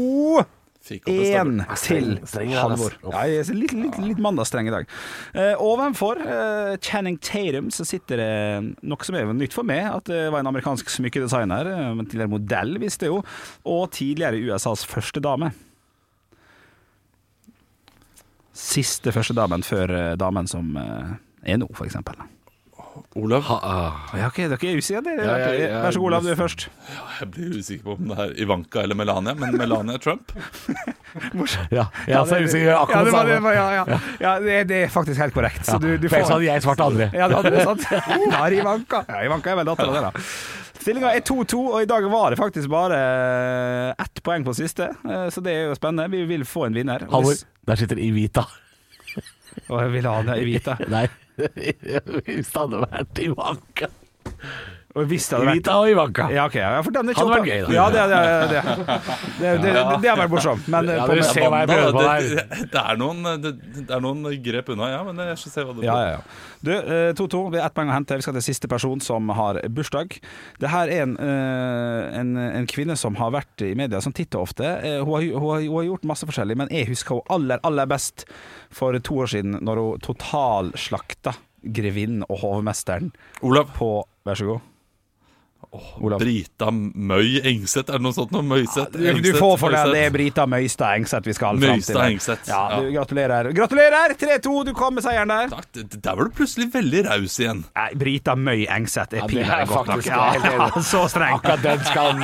[SPEAKER 4] Fikk opp en
[SPEAKER 3] Én
[SPEAKER 4] stabel.
[SPEAKER 3] til
[SPEAKER 5] streng, altså.
[SPEAKER 3] Halvor. Ja, jeg er litt, litt, litt mandagsstreng i dag. Eh, ovenfor eh, Channing Tatum så sitter det noe som er nytt for meg, at det var en amerikansk smykkedesigner, eh, men tidligere modell, visste jeg jo, og tidligere USAs første dame. Siste første damen før eh, damen som eh, er nå, for eksempel. ah,
[SPEAKER 4] Olav,
[SPEAKER 3] Ja, ok, dere er usikre. det er
[SPEAKER 5] Ja, ja, ja.
[SPEAKER 3] Vær så god, Olav, du er først.
[SPEAKER 4] jeg blir usikker på om det er Ivanka eller Melania, men Melania Trump.
[SPEAKER 5] Ja, jeg er så
[SPEAKER 3] det-
[SPEAKER 5] usikker.
[SPEAKER 3] ja, det
[SPEAKER 5] Akkurat det
[SPEAKER 3] var, det
[SPEAKER 5] samme.
[SPEAKER 3] var, ja, ja. ja det, det er faktisk helt korrekt. Så du, du
[SPEAKER 5] For ellers
[SPEAKER 3] får
[SPEAKER 5] hadde jeg svart andre.
[SPEAKER 3] Ja, det hadde du sant. Ja, Ivanka. Ja, Ivanka er vel dattera der, da. Stillinga er 2-2, og i dag var det faktisk bare ett poeng på siste, eh, så det er jo spennende. Vi vil få en vinner. Og
[SPEAKER 5] Halvor,
[SPEAKER 3] hvis-
[SPEAKER 5] der sitter Ivita.
[SPEAKER 3] Å, jeg vil ha det i hvite.
[SPEAKER 5] <laughs> Nei, <laughs> hvis det hadde vært Ivanka
[SPEAKER 3] Og hvis det hadde vært
[SPEAKER 5] Ivita og Ivanka.
[SPEAKER 3] ja, ok, ja, for den er ikke
[SPEAKER 5] Hadde vært
[SPEAKER 3] åpen.
[SPEAKER 5] gøy, da.
[SPEAKER 3] Ja, det, det, det, det, det, det, det hadde vært morsomt. Men eh,
[SPEAKER 5] Ja,
[SPEAKER 3] på-
[SPEAKER 5] det er- Se hva jeg prøver på
[SPEAKER 4] det, det, det, er noen, det, det er noen grep unna, ja, men jeg skal se hva du
[SPEAKER 3] Ja, ja, ja. Du, eh, 2-2. Vi har ett poeng å hente. Vi skal til siste person som har bursdag. Det her er en, eh, en, en kvinne som har vært i media som titt og ofte. Eh, Hun har, hun, har, hun har gjort masse forskjellig, men jeg husker henne aller, aller best for to år siden, når hun totalslakta grevinnen og hovmesteren
[SPEAKER 4] Olav.
[SPEAKER 3] på Vær så god. Olav.
[SPEAKER 4] Brita Møy Engseth, er det noe sånt? Noe Møyseth?
[SPEAKER 3] Du, du
[SPEAKER 4] Engseth,
[SPEAKER 3] får for det.
[SPEAKER 4] Møyseth.
[SPEAKER 3] Det er Brita Møystad Engseth vi skal fram til.
[SPEAKER 4] Møystad Engseth,
[SPEAKER 3] Ja,
[SPEAKER 4] ja.
[SPEAKER 3] du, gratulerer. Gratulerer! 3-2, du kom med seieren der.
[SPEAKER 4] Takk, det- det- Der var du plutselig veldig raus igjen.
[SPEAKER 3] Nei, Eh, Brita Møy Engseth er
[SPEAKER 5] Ja, det
[SPEAKER 3] pinlig
[SPEAKER 5] er
[SPEAKER 3] godt nok.
[SPEAKER 5] faktisk- jeg er helt enig.
[SPEAKER 3] Ja, <laughs> så streng.
[SPEAKER 5] Akkurat den skal
[SPEAKER 3] <laughs>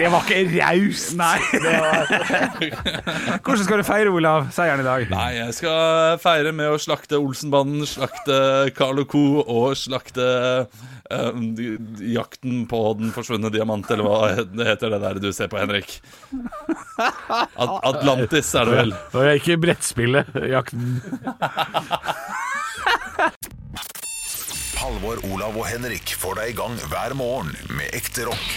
[SPEAKER 5] Det var ikke raust!
[SPEAKER 3] eh, Nei. <laughs> Hvordan skal du feire, Olav, seieren i dag?
[SPEAKER 4] Nei, jeg skal feire med å slakte Olsenbanden, slakte Carl Co. og slakte eh, de- de- Jakten på den forsvunne diamant, eller hva det heter det der du ser på, Henrik. At Atlantis, er det vel.
[SPEAKER 5] Når jeg gikk i brettspillet, jakten
[SPEAKER 1] Halvor, Olav og Henrik får deg i gang hver morgen med ekte rock.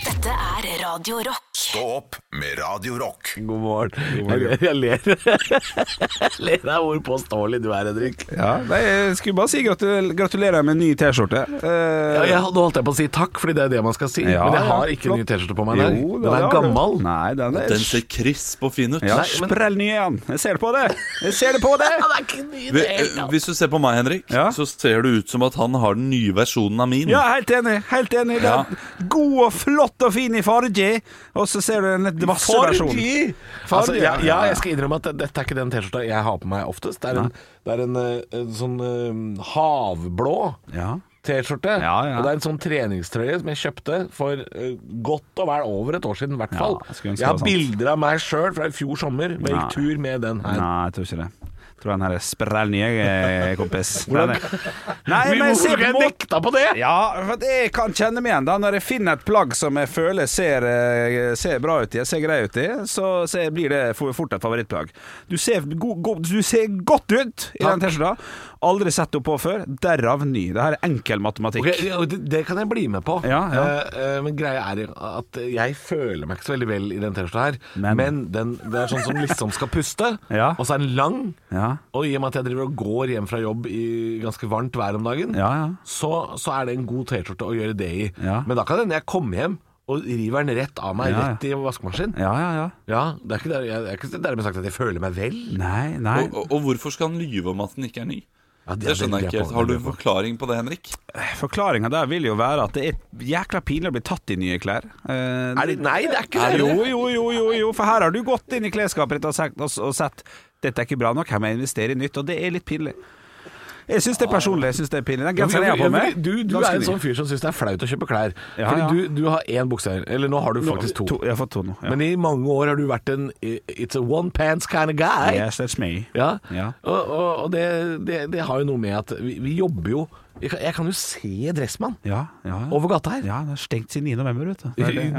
[SPEAKER 2] Dette er Radio Rock.
[SPEAKER 1] Stå opp med Radio Rock.
[SPEAKER 5] God morgen. Jeg, jeg ler <laughs> Jeg ler av hvor påståelig du er, Henrik.
[SPEAKER 3] Ja, nei, jeg skulle bare si gratul gratulerer med en ny T-skjorte. Eh,
[SPEAKER 5] Ja, jeg, nå holdt jeg på å si takk, fordi det er det man skal si.
[SPEAKER 3] Ja,
[SPEAKER 5] men jeg
[SPEAKER 3] ja,
[SPEAKER 5] har ikke ny
[SPEAKER 3] flott.
[SPEAKER 5] T-skjorte på meg. der.
[SPEAKER 3] Jo,
[SPEAKER 5] Den
[SPEAKER 3] det
[SPEAKER 5] er
[SPEAKER 3] har du.
[SPEAKER 5] gammel.
[SPEAKER 3] Nei, den er
[SPEAKER 4] Den ser crisp og fin ut.
[SPEAKER 3] ja,
[SPEAKER 4] Nei, men-
[SPEAKER 3] sprell ny igjen. Jeg ser det på deg. Jeg ser det på deg. <laughs>
[SPEAKER 5] Det er ikke ny i
[SPEAKER 4] Vi-
[SPEAKER 5] det hele
[SPEAKER 4] eh,
[SPEAKER 5] tatt.
[SPEAKER 4] Hvis du ser på meg, Henrik,
[SPEAKER 3] Ja.
[SPEAKER 4] så ser det ut som at han har den nye versjonen av min.
[SPEAKER 3] Ja, helt enig. Helt enig. Den
[SPEAKER 4] Ja.
[SPEAKER 3] er god og flott og fin i farge, og så ser du en litt vasseversjon.
[SPEAKER 5] Altså, ja, ja, jeg skal innrømme at dette er ikke den T-skjorta jeg har på meg oftest. Det er en, det er en, eh, en sånn eh, havblå
[SPEAKER 3] Ja.
[SPEAKER 5] T-skjorte.
[SPEAKER 3] Ja, ja.
[SPEAKER 5] Og det er en sånn treningstrøye som jeg kjøpte for eh, godt og vel over et år siden, i hvert fall.
[SPEAKER 3] jeg skulle ønske
[SPEAKER 5] jeg har
[SPEAKER 3] det var sant.
[SPEAKER 5] bilder av meg sjøl fra i fjor sommer, hvor jeg
[SPEAKER 3] Nei.
[SPEAKER 5] gikk tur med den her.
[SPEAKER 3] Nei, jeg tror ikke det. Tror han her er sprell nye, eh, kompis.
[SPEAKER 5] <laughs> Hvordan-
[SPEAKER 3] Den er- Nei, men se på må...
[SPEAKER 5] nekta på det!
[SPEAKER 3] Ja, for at jeg kan kjenne meg igjen da Når jeg finner et plagg som jeg føler ser, eh, ser bra ut i Ser grei ut i Så, så blir det for- fort et favorittplagg Du ser, go, go, du ser godt ut i den t-skjorta Aldri sett opp på før Derav ny Det her er enkel matematikk
[SPEAKER 5] Ok, ja, det, det kan jeg bli med på.
[SPEAKER 3] Ja, ja.
[SPEAKER 5] Eh, eh, men greia er at jeg føler meg ikke så veldig vel i den T-skjorta her. Men, den, det er sånn som liksom skal puste,
[SPEAKER 3] <laughs> Ja.
[SPEAKER 5] og så er den lang.
[SPEAKER 3] Ja.
[SPEAKER 5] Og i og med at jeg driver og går hjem fra jobb i ganske varmt vær om dagen,
[SPEAKER 3] Ja, ja.
[SPEAKER 5] Så, så er det en god T-skjorte å gjøre det i.
[SPEAKER 3] Ja.
[SPEAKER 5] Men da kan det hende jeg kommer hjem og river den rett av meg,
[SPEAKER 3] Ja, ja.
[SPEAKER 5] rett i vaskemaskinen.
[SPEAKER 3] Ja, ja, ja
[SPEAKER 5] Ja, det er ikke der, jeg, jeg er ikke dermed sagt at jeg føler meg vel.
[SPEAKER 3] Nei, nei
[SPEAKER 4] Og, og, og hvorfor skal han lyve om at den ikke er ny?
[SPEAKER 5] det
[SPEAKER 4] det,
[SPEAKER 5] er
[SPEAKER 4] skjønner
[SPEAKER 5] veldig
[SPEAKER 4] jeg
[SPEAKER 5] på-
[SPEAKER 4] ikke helt. Har du en forklaring på det, Henrik?
[SPEAKER 3] Forklaringa der vil jo være at det er jækla pinlig å bli tatt i nye klær. Eh,
[SPEAKER 5] Er det- nei, det er ikke
[SPEAKER 3] eh,
[SPEAKER 5] det.
[SPEAKER 3] Jo, jo, jo, jo, jo, for her har du gått inn i klesskapet ditt og sagt, og, og sett dette er ikke bra nok, her må jeg investere i nytt, og det er litt pinlig. Jeg syns det er personlig. jeg synes det er pinlig Den genseren jeg har på meg
[SPEAKER 5] Du, du
[SPEAKER 3] ganske
[SPEAKER 5] er en
[SPEAKER 3] ny.
[SPEAKER 5] sånn fyr som syns det er flaut å kjøpe klær.
[SPEAKER 3] Ja,
[SPEAKER 5] Fordi
[SPEAKER 3] ja.
[SPEAKER 5] Du, du har én bukse her. Eller nå har du
[SPEAKER 3] Nå-
[SPEAKER 5] faktisk to.
[SPEAKER 3] Jeg har fått to nå. Ja.
[SPEAKER 5] Men i mange år har du vært en i- It's a one pants kind of guy.
[SPEAKER 3] yes, that's me.
[SPEAKER 5] Ja.
[SPEAKER 3] Ja.
[SPEAKER 5] Og, og, og det, det, det har jo noe med at vi, vi jobber jo jeg kan, jeg kan jo se Dressmann
[SPEAKER 3] Ja, ja, ja.
[SPEAKER 5] over gata her.
[SPEAKER 3] ja, det er stengt siden 9. november, vet du. Det er det, ja.
[SPEAKER 5] <laughs> Nei,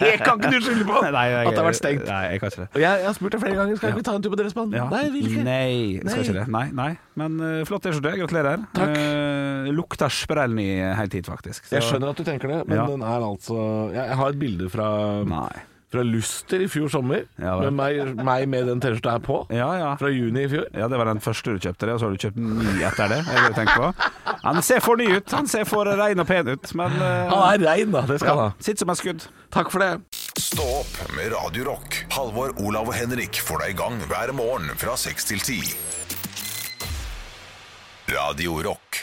[SPEAKER 5] det kan ikke du skylde på!
[SPEAKER 3] <laughs> Nei, jeg-
[SPEAKER 5] at det har vært stengt.
[SPEAKER 3] Nei, jeg kan ikke det.
[SPEAKER 5] Og jeg, jeg har spurt deg flere ganger Skal ikke vi ta en tur på Dressmann.
[SPEAKER 3] Ja.
[SPEAKER 5] Nei, jeg vil ikke.
[SPEAKER 3] Nei, jeg skal
[SPEAKER 5] Nei.
[SPEAKER 3] ikke det. Nei, nei. Men eh, flott T-skjorte. Gratulerer.
[SPEAKER 5] Takk.
[SPEAKER 3] Eh, lukter sprell ny helt hit, faktisk. Så-
[SPEAKER 5] Jeg skjønner at du tenker det, men
[SPEAKER 3] Ja.
[SPEAKER 5] den er altså Jeg, jeg har et bilde fra,
[SPEAKER 3] Nei.
[SPEAKER 5] fra Luster i fjor sommer,
[SPEAKER 3] Ja, vel.
[SPEAKER 5] med meg, meg med den T-skjorta her på.
[SPEAKER 3] Ja, ja.
[SPEAKER 5] Fra juni i fjor.
[SPEAKER 3] Ja, det var den første du kjøpte det, og så har du kjøpt ny etter det. Jeg vil tenke på. Han ser for ny ut. Han ser for rein og pen ut, men eh,
[SPEAKER 5] Han er rein, da. Det skal han ha.
[SPEAKER 3] Sitter som et skudd.
[SPEAKER 5] Takk for det.
[SPEAKER 1] Stå opp med Radio Rock. Halvor, Olav og Henrik får deg i gang hver morgen fra 6 til 10. Radio Rock.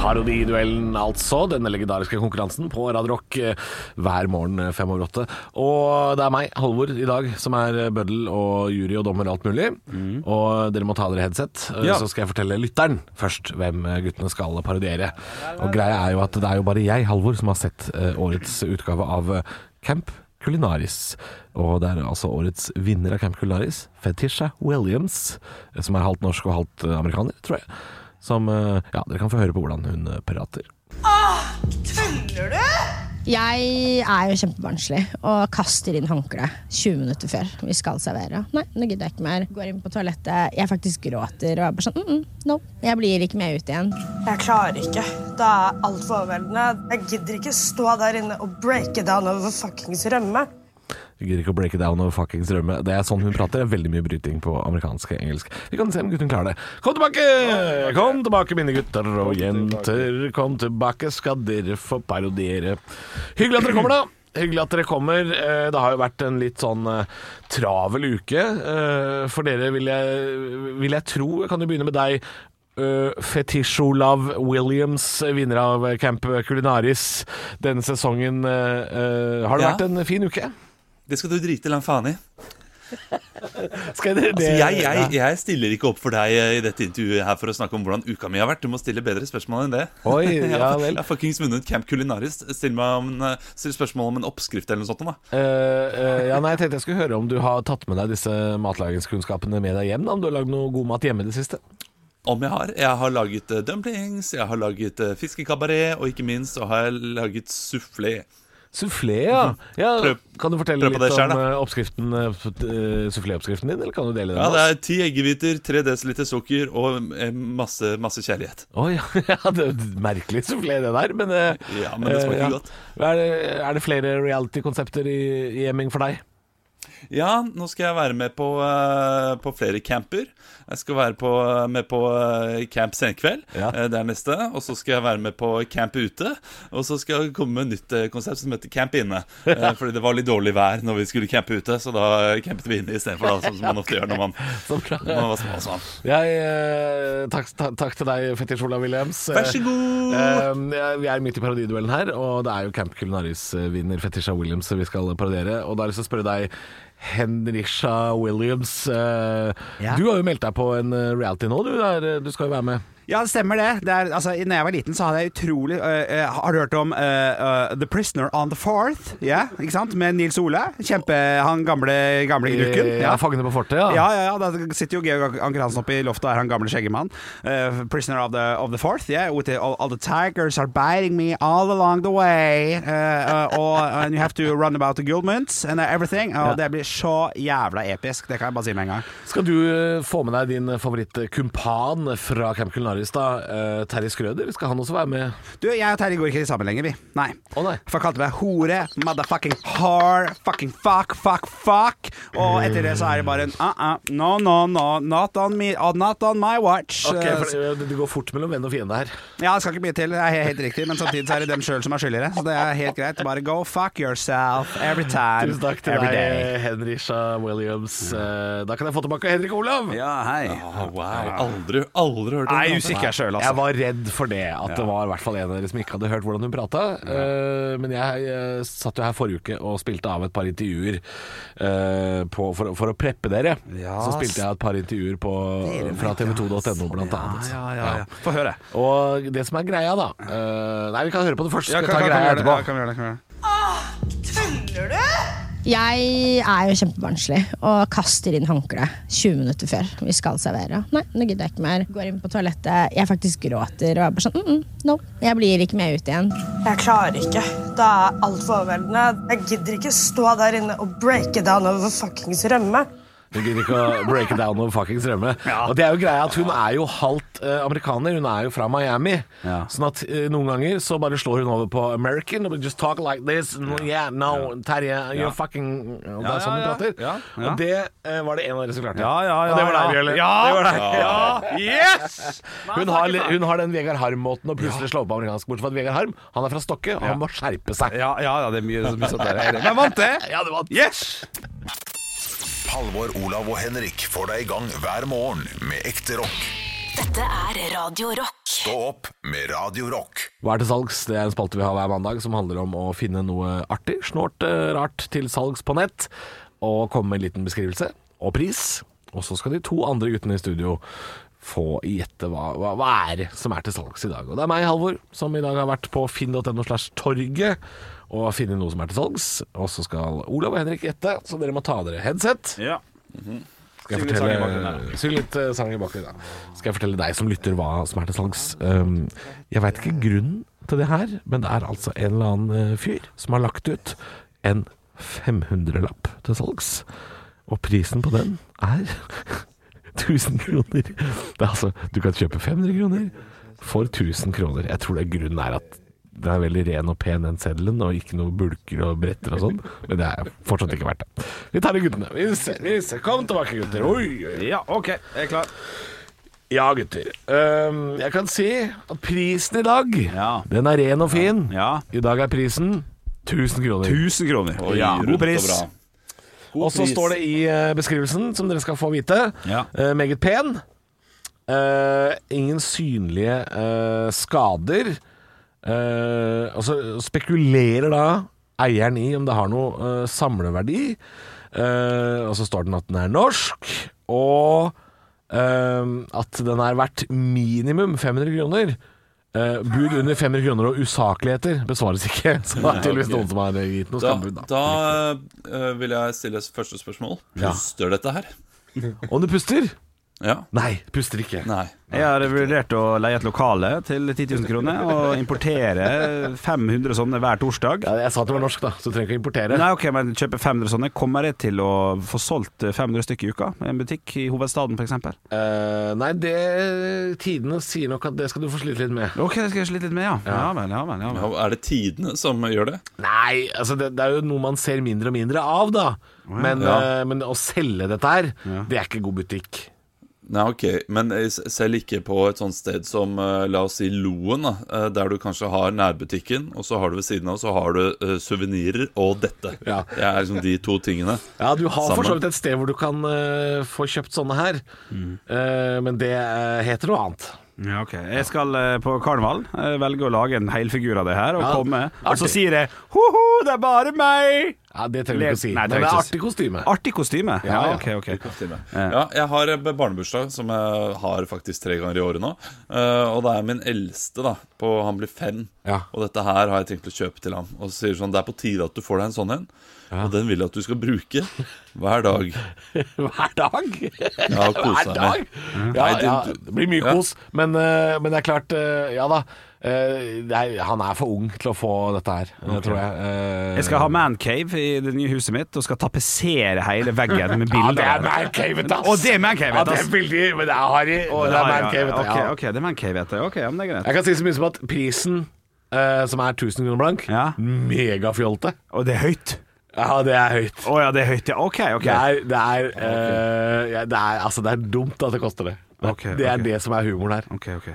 [SPEAKER 5] Parodiduellen, altså. Denne legendariske konkurransen på Radio Rock eh, hver morgen eh, fem over åtte. Og det er meg, Halvor, i dag som er eh, bøddel og jury og dommer og alt mulig. Og dere må ta dere headset, eh,
[SPEAKER 3] Ja.
[SPEAKER 5] så skal jeg fortelle lytteren først hvem eh, guttene skal parodiere. Og greia er jo at det er jo bare jeg, Halvor, som har sett eh, årets utgave av eh, Camp Culinaris. Og det er altså årets vinner av Camp Culinaris, Fetisha Williams, eh, som er halvt norsk og halvt eh, amerikaner, tror jeg. Som eh, Ja, dere kan få høre på hvordan hun eh, prater.
[SPEAKER 14] Tuller du? Jeg er jo kjempebarnslig og kaster inn håndkleet 20 minutter før vi skal servere. Nei, nå gidder jeg ikke mer. Går inn på toalettet, jeg faktisk gråter og er bare sånn mm, mm, no, jeg blir ikke med ut igjen.
[SPEAKER 15] Jeg klarer ikke. Det er altfor overveldende. Jeg gidder ikke stå der inne og breake down over fuckings rømme.
[SPEAKER 5] Jeg Gidder ikke å breake down over fuckings rømme. Det er sånn hun prater. Det er Veldig mye bryting på amerikansk og engelsk. Vi kan se om gutten klarer det. Kom tilbake! Kom tilbake, mine gutter og jenter. Kom tilbake, skal dere få parodiere. Hyggelig at dere kommer, da. Hyggelig at dere kommer. Eh, Det har jo vært en litt sånn eh, travel uke. Eh, For dere vil jeg, vil jeg tro Jeg kan jo begynne med deg. eh, Fetisj-Olav Williams, vinner av Camp Culinaris denne sesongen. eh, eh, Har det
[SPEAKER 4] Ja.
[SPEAKER 5] vært en fin uke?
[SPEAKER 4] Det skal du drite lang faen i.
[SPEAKER 5] Skal dere
[SPEAKER 4] Altså, jeg, jeg, jeg stiller ikke opp for deg eh, i dette intervjuet her for å snakke om hvordan uka mi har vært. Du må stille bedre spørsmål enn det. <laughs>
[SPEAKER 5] Oi,
[SPEAKER 4] jeg
[SPEAKER 5] ja
[SPEAKER 4] har-
[SPEAKER 5] vel.
[SPEAKER 4] jeg har fuckings vunnet Camp Culinaris. Still, meg om, eh, still spørsmål om en oppskrift eller noe sånt. Da.
[SPEAKER 5] Eh, eh, ja, nei, jeg tenkte jeg skulle høre om du har tatt med deg disse matlagingskunnskapene med deg hjem. Da, om du har lagd noe god mat hjemme i det siste.
[SPEAKER 4] Om jeg har. Jeg har laget eh, dumplings, jeg har laget eh, fiskekabaret, og ikke minst så har jeg laget soufflé.
[SPEAKER 5] Sufflé, ja. ja
[SPEAKER 4] Mhm. Prøv-
[SPEAKER 5] kan du fortelle
[SPEAKER 4] prøv
[SPEAKER 5] litt
[SPEAKER 4] på det selv,
[SPEAKER 5] om
[SPEAKER 4] da.
[SPEAKER 5] eh, oppskriften, uh, suffléoppskriften din, eller kan du dele den?
[SPEAKER 4] Ja,
[SPEAKER 5] med
[SPEAKER 4] det
[SPEAKER 5] oss?
[SPEAKER 4] er ti eggehviter, tre desiliter sukker og eh, masse, masse kjærlighet.
[SPEAKER 5] Oi, ja, <laughs> det er et merkelig sufflé det der, men, eh,
[SPEAKER 4] Ja, men det smaker
[SPEAKER 5] eh,
[SPEAKER 4] godt.
[SPEAKER 5] Er det, er det flere reality-konsepter i, i Emming for deg?
[SPEAKER 4] Ja, nå skal jeg være med på, eh, på flere camper. Jeg skal være på, med på eh, camp senkveld. eh, Det er neste. Og så skal jeg være med på camp ute. Og så skal jeg komme med et nytt eh, konsept som heter Camp inne. Eh, Fordi det var litt dårlig vær når vi skulle campe ute, så da eh, campet vi inne istedenfor, da, sånn som man ofte gjør når man, når man var små. og Sånn.
[SPEAKER 5] Jeg, eh, takk, ta- takk til deg, Fetisj Olav Williams.
[SPEAKER 4] Vær så god!
[SPEAKER 5] Eh, eh, vi er midt i parodiduellen her, og det er jo Camp Culinaris-vinner Fetisha Williams vi skal parodiere. Og da har jeg lyst til å spørre deg, Henrisha Williams. eh, Du har jo meldt deg på en eh, reality nå, du. Der, eh, du skal jo være med.
[SPEAKER 3] Ja, det stemmer det. det er, altså, når jeg var liten, så hadde jeg utrolig øh, øh, Har du hørt om øh, øh, The Prisoner on the Fourth? Ja, ikke sant? Med Nils Ole. Kjempe, han gamle, gamle gnukken.
[SPEAKER 5] Ja, Fangene på fortet, ja.
[SPEAKER 3] Ja, ja, ja. Da sitter jo Georg Anker Hansen oppe i loftet, er han gamle skjeggemann. Eh, prisoner of the, of the Fourth. Yeah, with the, all, all the tigers are biting me all along the way. Eh, eh, og, and you have to run about the gold mints and everything. Og Det blir så jævla episk. Det kan jeg bare si med en gang.
[SPEAKER 5] Skal du eh, få med deg din favorittkumpan fra Camp Culinaris, da? eh, Terje Skrøder, skal han også være med?
[SPEAKER 3] Du, jeg og Terje går ikke sammen lenger, vi. Nei. For han kalte meg hore, motherfucking whore, fucking fuck, fuck, fuck. Og etter det så er det bare en uh-uh, no, no, no, not on me, uh, not on my watch.
[SPEAKER 5] Ok,
[SPEAKER 3] Eh,
[SPEAKER 5] for eh, Det går fort mellom venn og fiende her.
[SPEAKER 3] Ja, det skal ikke mye til, det er he- helt riktig, men samtidig så er det dem sjøl som er skyldere. Så det er helt greit. Bare go fuck yourself every time,
[SPEAKER 5] Tusen takk til
[SPEAKER 3] every
[SPEAKER 5] deg,
[SPEAKER 3] day.
[SPEAKER 5] Henrisha Williams. Eh, Da kan jeg få tilbake Henrik Olav.
[SPEAKER 3] Ja, hei.
[SPEAKER 4] wow. Aldri, aldri hørt om
[SPEAKER 5] Nei,
[SPEAKER 4] det.
[SPEAKER 5] usikker selv, altså. Jeg var redd for det, at det var i hvert fall en av dere som ikke hadde hørt hvordan hun prata. Eh, Men jeg eh, satt jo her forrige uke og spilte av et par intervjuer eh, på, for, for å preppe dere.
[SPEAKER 3] Ja,
[SPEAKER 5] Så spilte jeg et par intervjuer på,
[SPEAKER 3] Dere
[SPEAKER 5] fra
[SPEAKER 3] vet, ja.
[SPEAKER 5] tv2.no, blant
[SPEAKER 3] Ja,
[SPEAKER 5] annet.
[SPEAKER 3] ja, ja, ja. Få høre.
[SPEAKER 5] Og det som er greia, da eh, Nei, vi kan høre på det først.
[SPEAKER 3] Ja,
[SPEAKER 5] Skal vi
[SPEAKER 3] kan-
[SPEAKER 5] ta
[SPEAKER 3] kan-
[SPEAKER 5] greia
[SPEAKER 3] kan vi gjøre det?
[SPEAKER 5] etterpå?
[SPEAKER 3] Ja, kan vi gjøre det, kan vi gjøre det.
[SPEAKER 15] Tuller du?
[SPEAKER 14] Jeg er jo kjempebarnslig og kaster inn håndkleet 20 minutter før vi skal servere. Nei, nå gidder jeg ikke mer. Går inn på toalettet, jeg faktisk gråter og er bare sånn mm, mm, no, jeg blir ikke med ut igjen.
[SPEAKER 15] Jeg klarer ikke. Det er altfor overveldende. Jeg gidder ikke stå der inne og breake down over fuckings rømme.
[SPEAKER 5] Hun gidder ikke å break it down over fuckings rømme. Og det er jo greia at hun er jo halvt eh, amerikaner. Hun er jo fra Miami. Sånn at eh, noen ganger så bare slår hun over på American. og Just talk like this. No, yeah, no, Terje, you're
[SPEAKER 3] Ja.
[SPEAKER 5] fucking Og det
[SPEAKER 3] Ja,
[SPEAKER 5] er sånn hun
[SPEAKER 3] ja,
[SPEAKER 5] prater.
[SPEAKER 3] ja. Ja.
[SPEAKER 5] Og det eh, var det en av dere som klarte.
[SPEAKER 3] Ja, ja, ja,
[SPEAKER 5] og det var deg,
[SPEAKER 3] ja.
[SPEAKER 5] Bjørle.
[SPEAKER 3] Ja.
[SPEAKER 5] Det var deg.
[SPEAKER 3] Ja. Yes!
[SPEAKER 5] Hun har, li- hun har den Vegard Harm-måten å plutselig slå på amerikansk. Bortsett fra at Vegard Harm han er fra Stokke, og han må skjerpe seg.
[SPEAKER 3] Ja, ja, ja, det er mye, mye sånt der. Men jeg vant det!
[SPEAKER 5] Ja, du vant.
[SPEAKER 3] Yes!
[SPEAKER 1] Halvor, Olav og Henrik får deg i gang hver morgen med ekte rock.
[SPEAKER 2] Dette er Radio Rock.
[SPEAKER 1] Stå opp med Radio Rock.
[SPEAKER 5] Hva er til salgs? Det er en spalte vi har hver mandag som handler om å finne noe artig, snålt, eh, rart til salgs på nett. Og komme med en liten beskrivelse og pris. Og så skal de to andre guttene i studio få gjette hva, hva, hva er det som er til salgs i dag. Og det er meg, Halvor, som i dag har vært på finn.no slash torget og funnet noe som er til salgs. Og så skal Olav og Henrik gjette, så dere må ta av dere headset.
[SPEAKER 3] Ja.
[SPEAKER 5] Skal jeg
[SPEAKER 3] Syng litt sang i bakgrunnen
[SPEAKER 5] fortelle, syng litt eh, sang i bakgrunnen. da. Skal jeg fortelle deg som lytter hva som er til salgs. Um, jeg veit ikke grunnen til det her, men det er altså en eller annen eh, fyr som har lagt ut en 500-lapp til salgs. Og prisen på den er <laughs> 1000 kroner. Det er altså, du kan kjøpe 500 kroner for 1000 kroner. Jeg tror det er grunnen er at den er veldig ren og pen, den seddelen, og ikke noe bulker og bretter og sånn. Men det er fortsatt ikke verdt det. Vi tar det, guttene. Vi ser, vi ser. Kom tilbake, gutter. Oi, oi.
[SPEAKER 3] Ja, OK. Jeg er klar.
[SPEAKER 5] Ja, gutter. Øhm, jeg kan si at prisen i dag, den er ren og fin. I dag er prisen 1000 kroner.
[SPEAKER 3] 1000 kroner.
[SPEAKER 5] Oi,
[SPEAKER 3] Ja,
[SPEAKER 5] rundt
[SPEAKER 3] god pris.
[SPEAKER 5] og bra. Og så står det i eh, beskrivelsen, som dere skal få vite,
[SPEAKER 3] Ja.
[SPEAKER 5] eh, meget pen. Eh, ingen synlige eh, skader. Eh, og så spekulerer da eieren i om det har noe eh, samleverdi. Eh, og så står den at den er norsk, og eh, at den er verdt minimum 500 kroner. Eh, bud under 500 kroner og usakligheter besvares ikke. <laughs> Så det er tydeligvis
[SPEAKER 4] Ja, ok.
[SPEAKER 5] noen som har gitt noe
[SPEAKER 4] Da,
[SPEAKER 5] skambud.
[SPEAKER 4] da eh, vil jeg stille første spørsmål.
[SPEAKER 5] Ja.
[SPEAKER 4] Puster dette her?
[SPEAKER 5] Om du puster? Nei, puster ikke.
[SPEAKER 3] Jeg har vurdert å leie et lokale til 10 000 kroner og importere 500 sånne hver torsdag.
[SPEAKER 5] jeg sa at det var norsk, da, så du trenger ikke importere.
[SPEAKER 3] Nei, ok, men kjøpe 500 sånne. Kommer jeg til å få solgt 500 stykker i uka? I en butikk i hovedstaden, f.eks.?
[SPEAKER 5] Eh, nei, det Tidene sier nok at det skal du få slite litt med.
[SPEAKER 3] Ok, det skal jeg slite litt med, ja. Ja vel, ja vel. Ja, vel.
[SPEAKER 4] Er det tidene som gjør det?
[SPEAKER 5] Nei, altså det, det er jo noe man ser mindre og mindre av, da. Men,
[SPEAKER 4] Ja.
[SPEAKER 5] eh, men å selge dette her, det er ikke god butikk.
[SPEAKER 4] Nei, ok, men eh, s- selv ikke på et sånt sted som, eh, la oss si, Loen, da, eh, der du kanskje har nærbutikken, og så har du ved siden av, så har du uh, suvenirer og dette. Det er liksom de to tingene.
[SPEAKER 5] Ja, du har for så
[SPEAKER 4] sammen.
[SPEAKER 5] vidt et sted hvor du kan eh, få kjøpt sånne her, Eh, men det eh, heter noe annet.
[SPEAKER 3] Ja, ok. Jeg skal eh, på karneval eh, velge å lage en helfigur av det her og
[SPEAKER 5] Ja,
[SPEAKER 3] komme. Og så
[SPEAKER 5] artig.
[SPEAKER 3] sier jeg ho-ho, det er bare meg!
[SPEAKER 5] Ja, Det trenger du ikke å si.
[SPEAKER 3] Nei,
[SPEAKER 5] men det
[SPEAKER 3] trenger
[SPEAKER 5] er
[SPEAKER 3] ikke å si.
[SPEAKER 5] artig kostyme.
[SPEAKER 3] Artig kostyme? Ja,
[SPEAKER 4] Ja, ja.
[SPEAKER 3] ok, ok.
[SPEAKER 4] Ja, jeg har eh, barnebursdag, som jeg har faktisk tre ganger i året nå. Eh, og det er min eldste, da. På, han blir fem. Og dette her har jeg tenkt å kjøpe til ham. Og så sier sånn, det er på tide at du får deg en sånn en. Og den vil jeg at du skal bruke hver dag.
[SPEAKER 5] <laughs> Hver dag?
[SPEAKER 4] Ja, og kose
[SPEAKER 5] Hver
[SPEAKER 4] deg
[SPEAKER 5] dag?
[SPEAKER 4] med.
[SPEAKER 3] Mm.
[SPEAKER 5] Ja,
[SPEAKER 4] Nei, det-
[SPEAKER 5] ja, det blir mye
[SPEAKER 4] Ja.
[SPEAKER 5] kos, men, eh, men det er klart eh, Ja da. eh, det er, han er for ung til å få dette her, eh, tror jeg. Eh,
[SPEAKER 3] Jeg skal ha mancave i det nye huset mitt og skal tapetsere hele veggen med
[SPEAKER 5] <laughs> ja,
[SPEAKER 3] bilder.
[SPEAKER 5] det er mancavet, ass!
[SPEAKER 3] Og det er
[SPEAKER 5] ja,
[SPEAKER 3] mancavet,
[SPEAKER 5] det
[SPEAKER 3] ass!
[SPEAKER 5] er veldig, men det er harry. Og det
[SPEAKER 3] Ja,
[SPEAKER 5] er
[SPEAKER 3] ja,
[SPEAKER 5] mancavet.
[SPEAKER 3] ok,
[SPEAKER 5] ja.
[SPEAKER 3] ok, det er mancave-ete. Ok, ja, men det er greit.
[SPEAKER 5] Jeg kan si så mye som at prisen, eh, som er 1000 kroner blank, megafjolte.
[SPEAKER 3] Og det er høyt.
[SPEAKER 5] Ja, det er høyt.
[SPEAKER 3] Å ja, det er høyt, ja. Ok, ok.
[SPEAKER 5] Det er, det er, eh, ja, det er Altså, det er dumt at det koster det. Det,
[SPEAKER 3] Ok,
[SPEAKER 5] det
[SPEAKER 3] ok.
[SPEAKER 5] er det som er humoren her.
[SPEAKER 3] Ok, ok.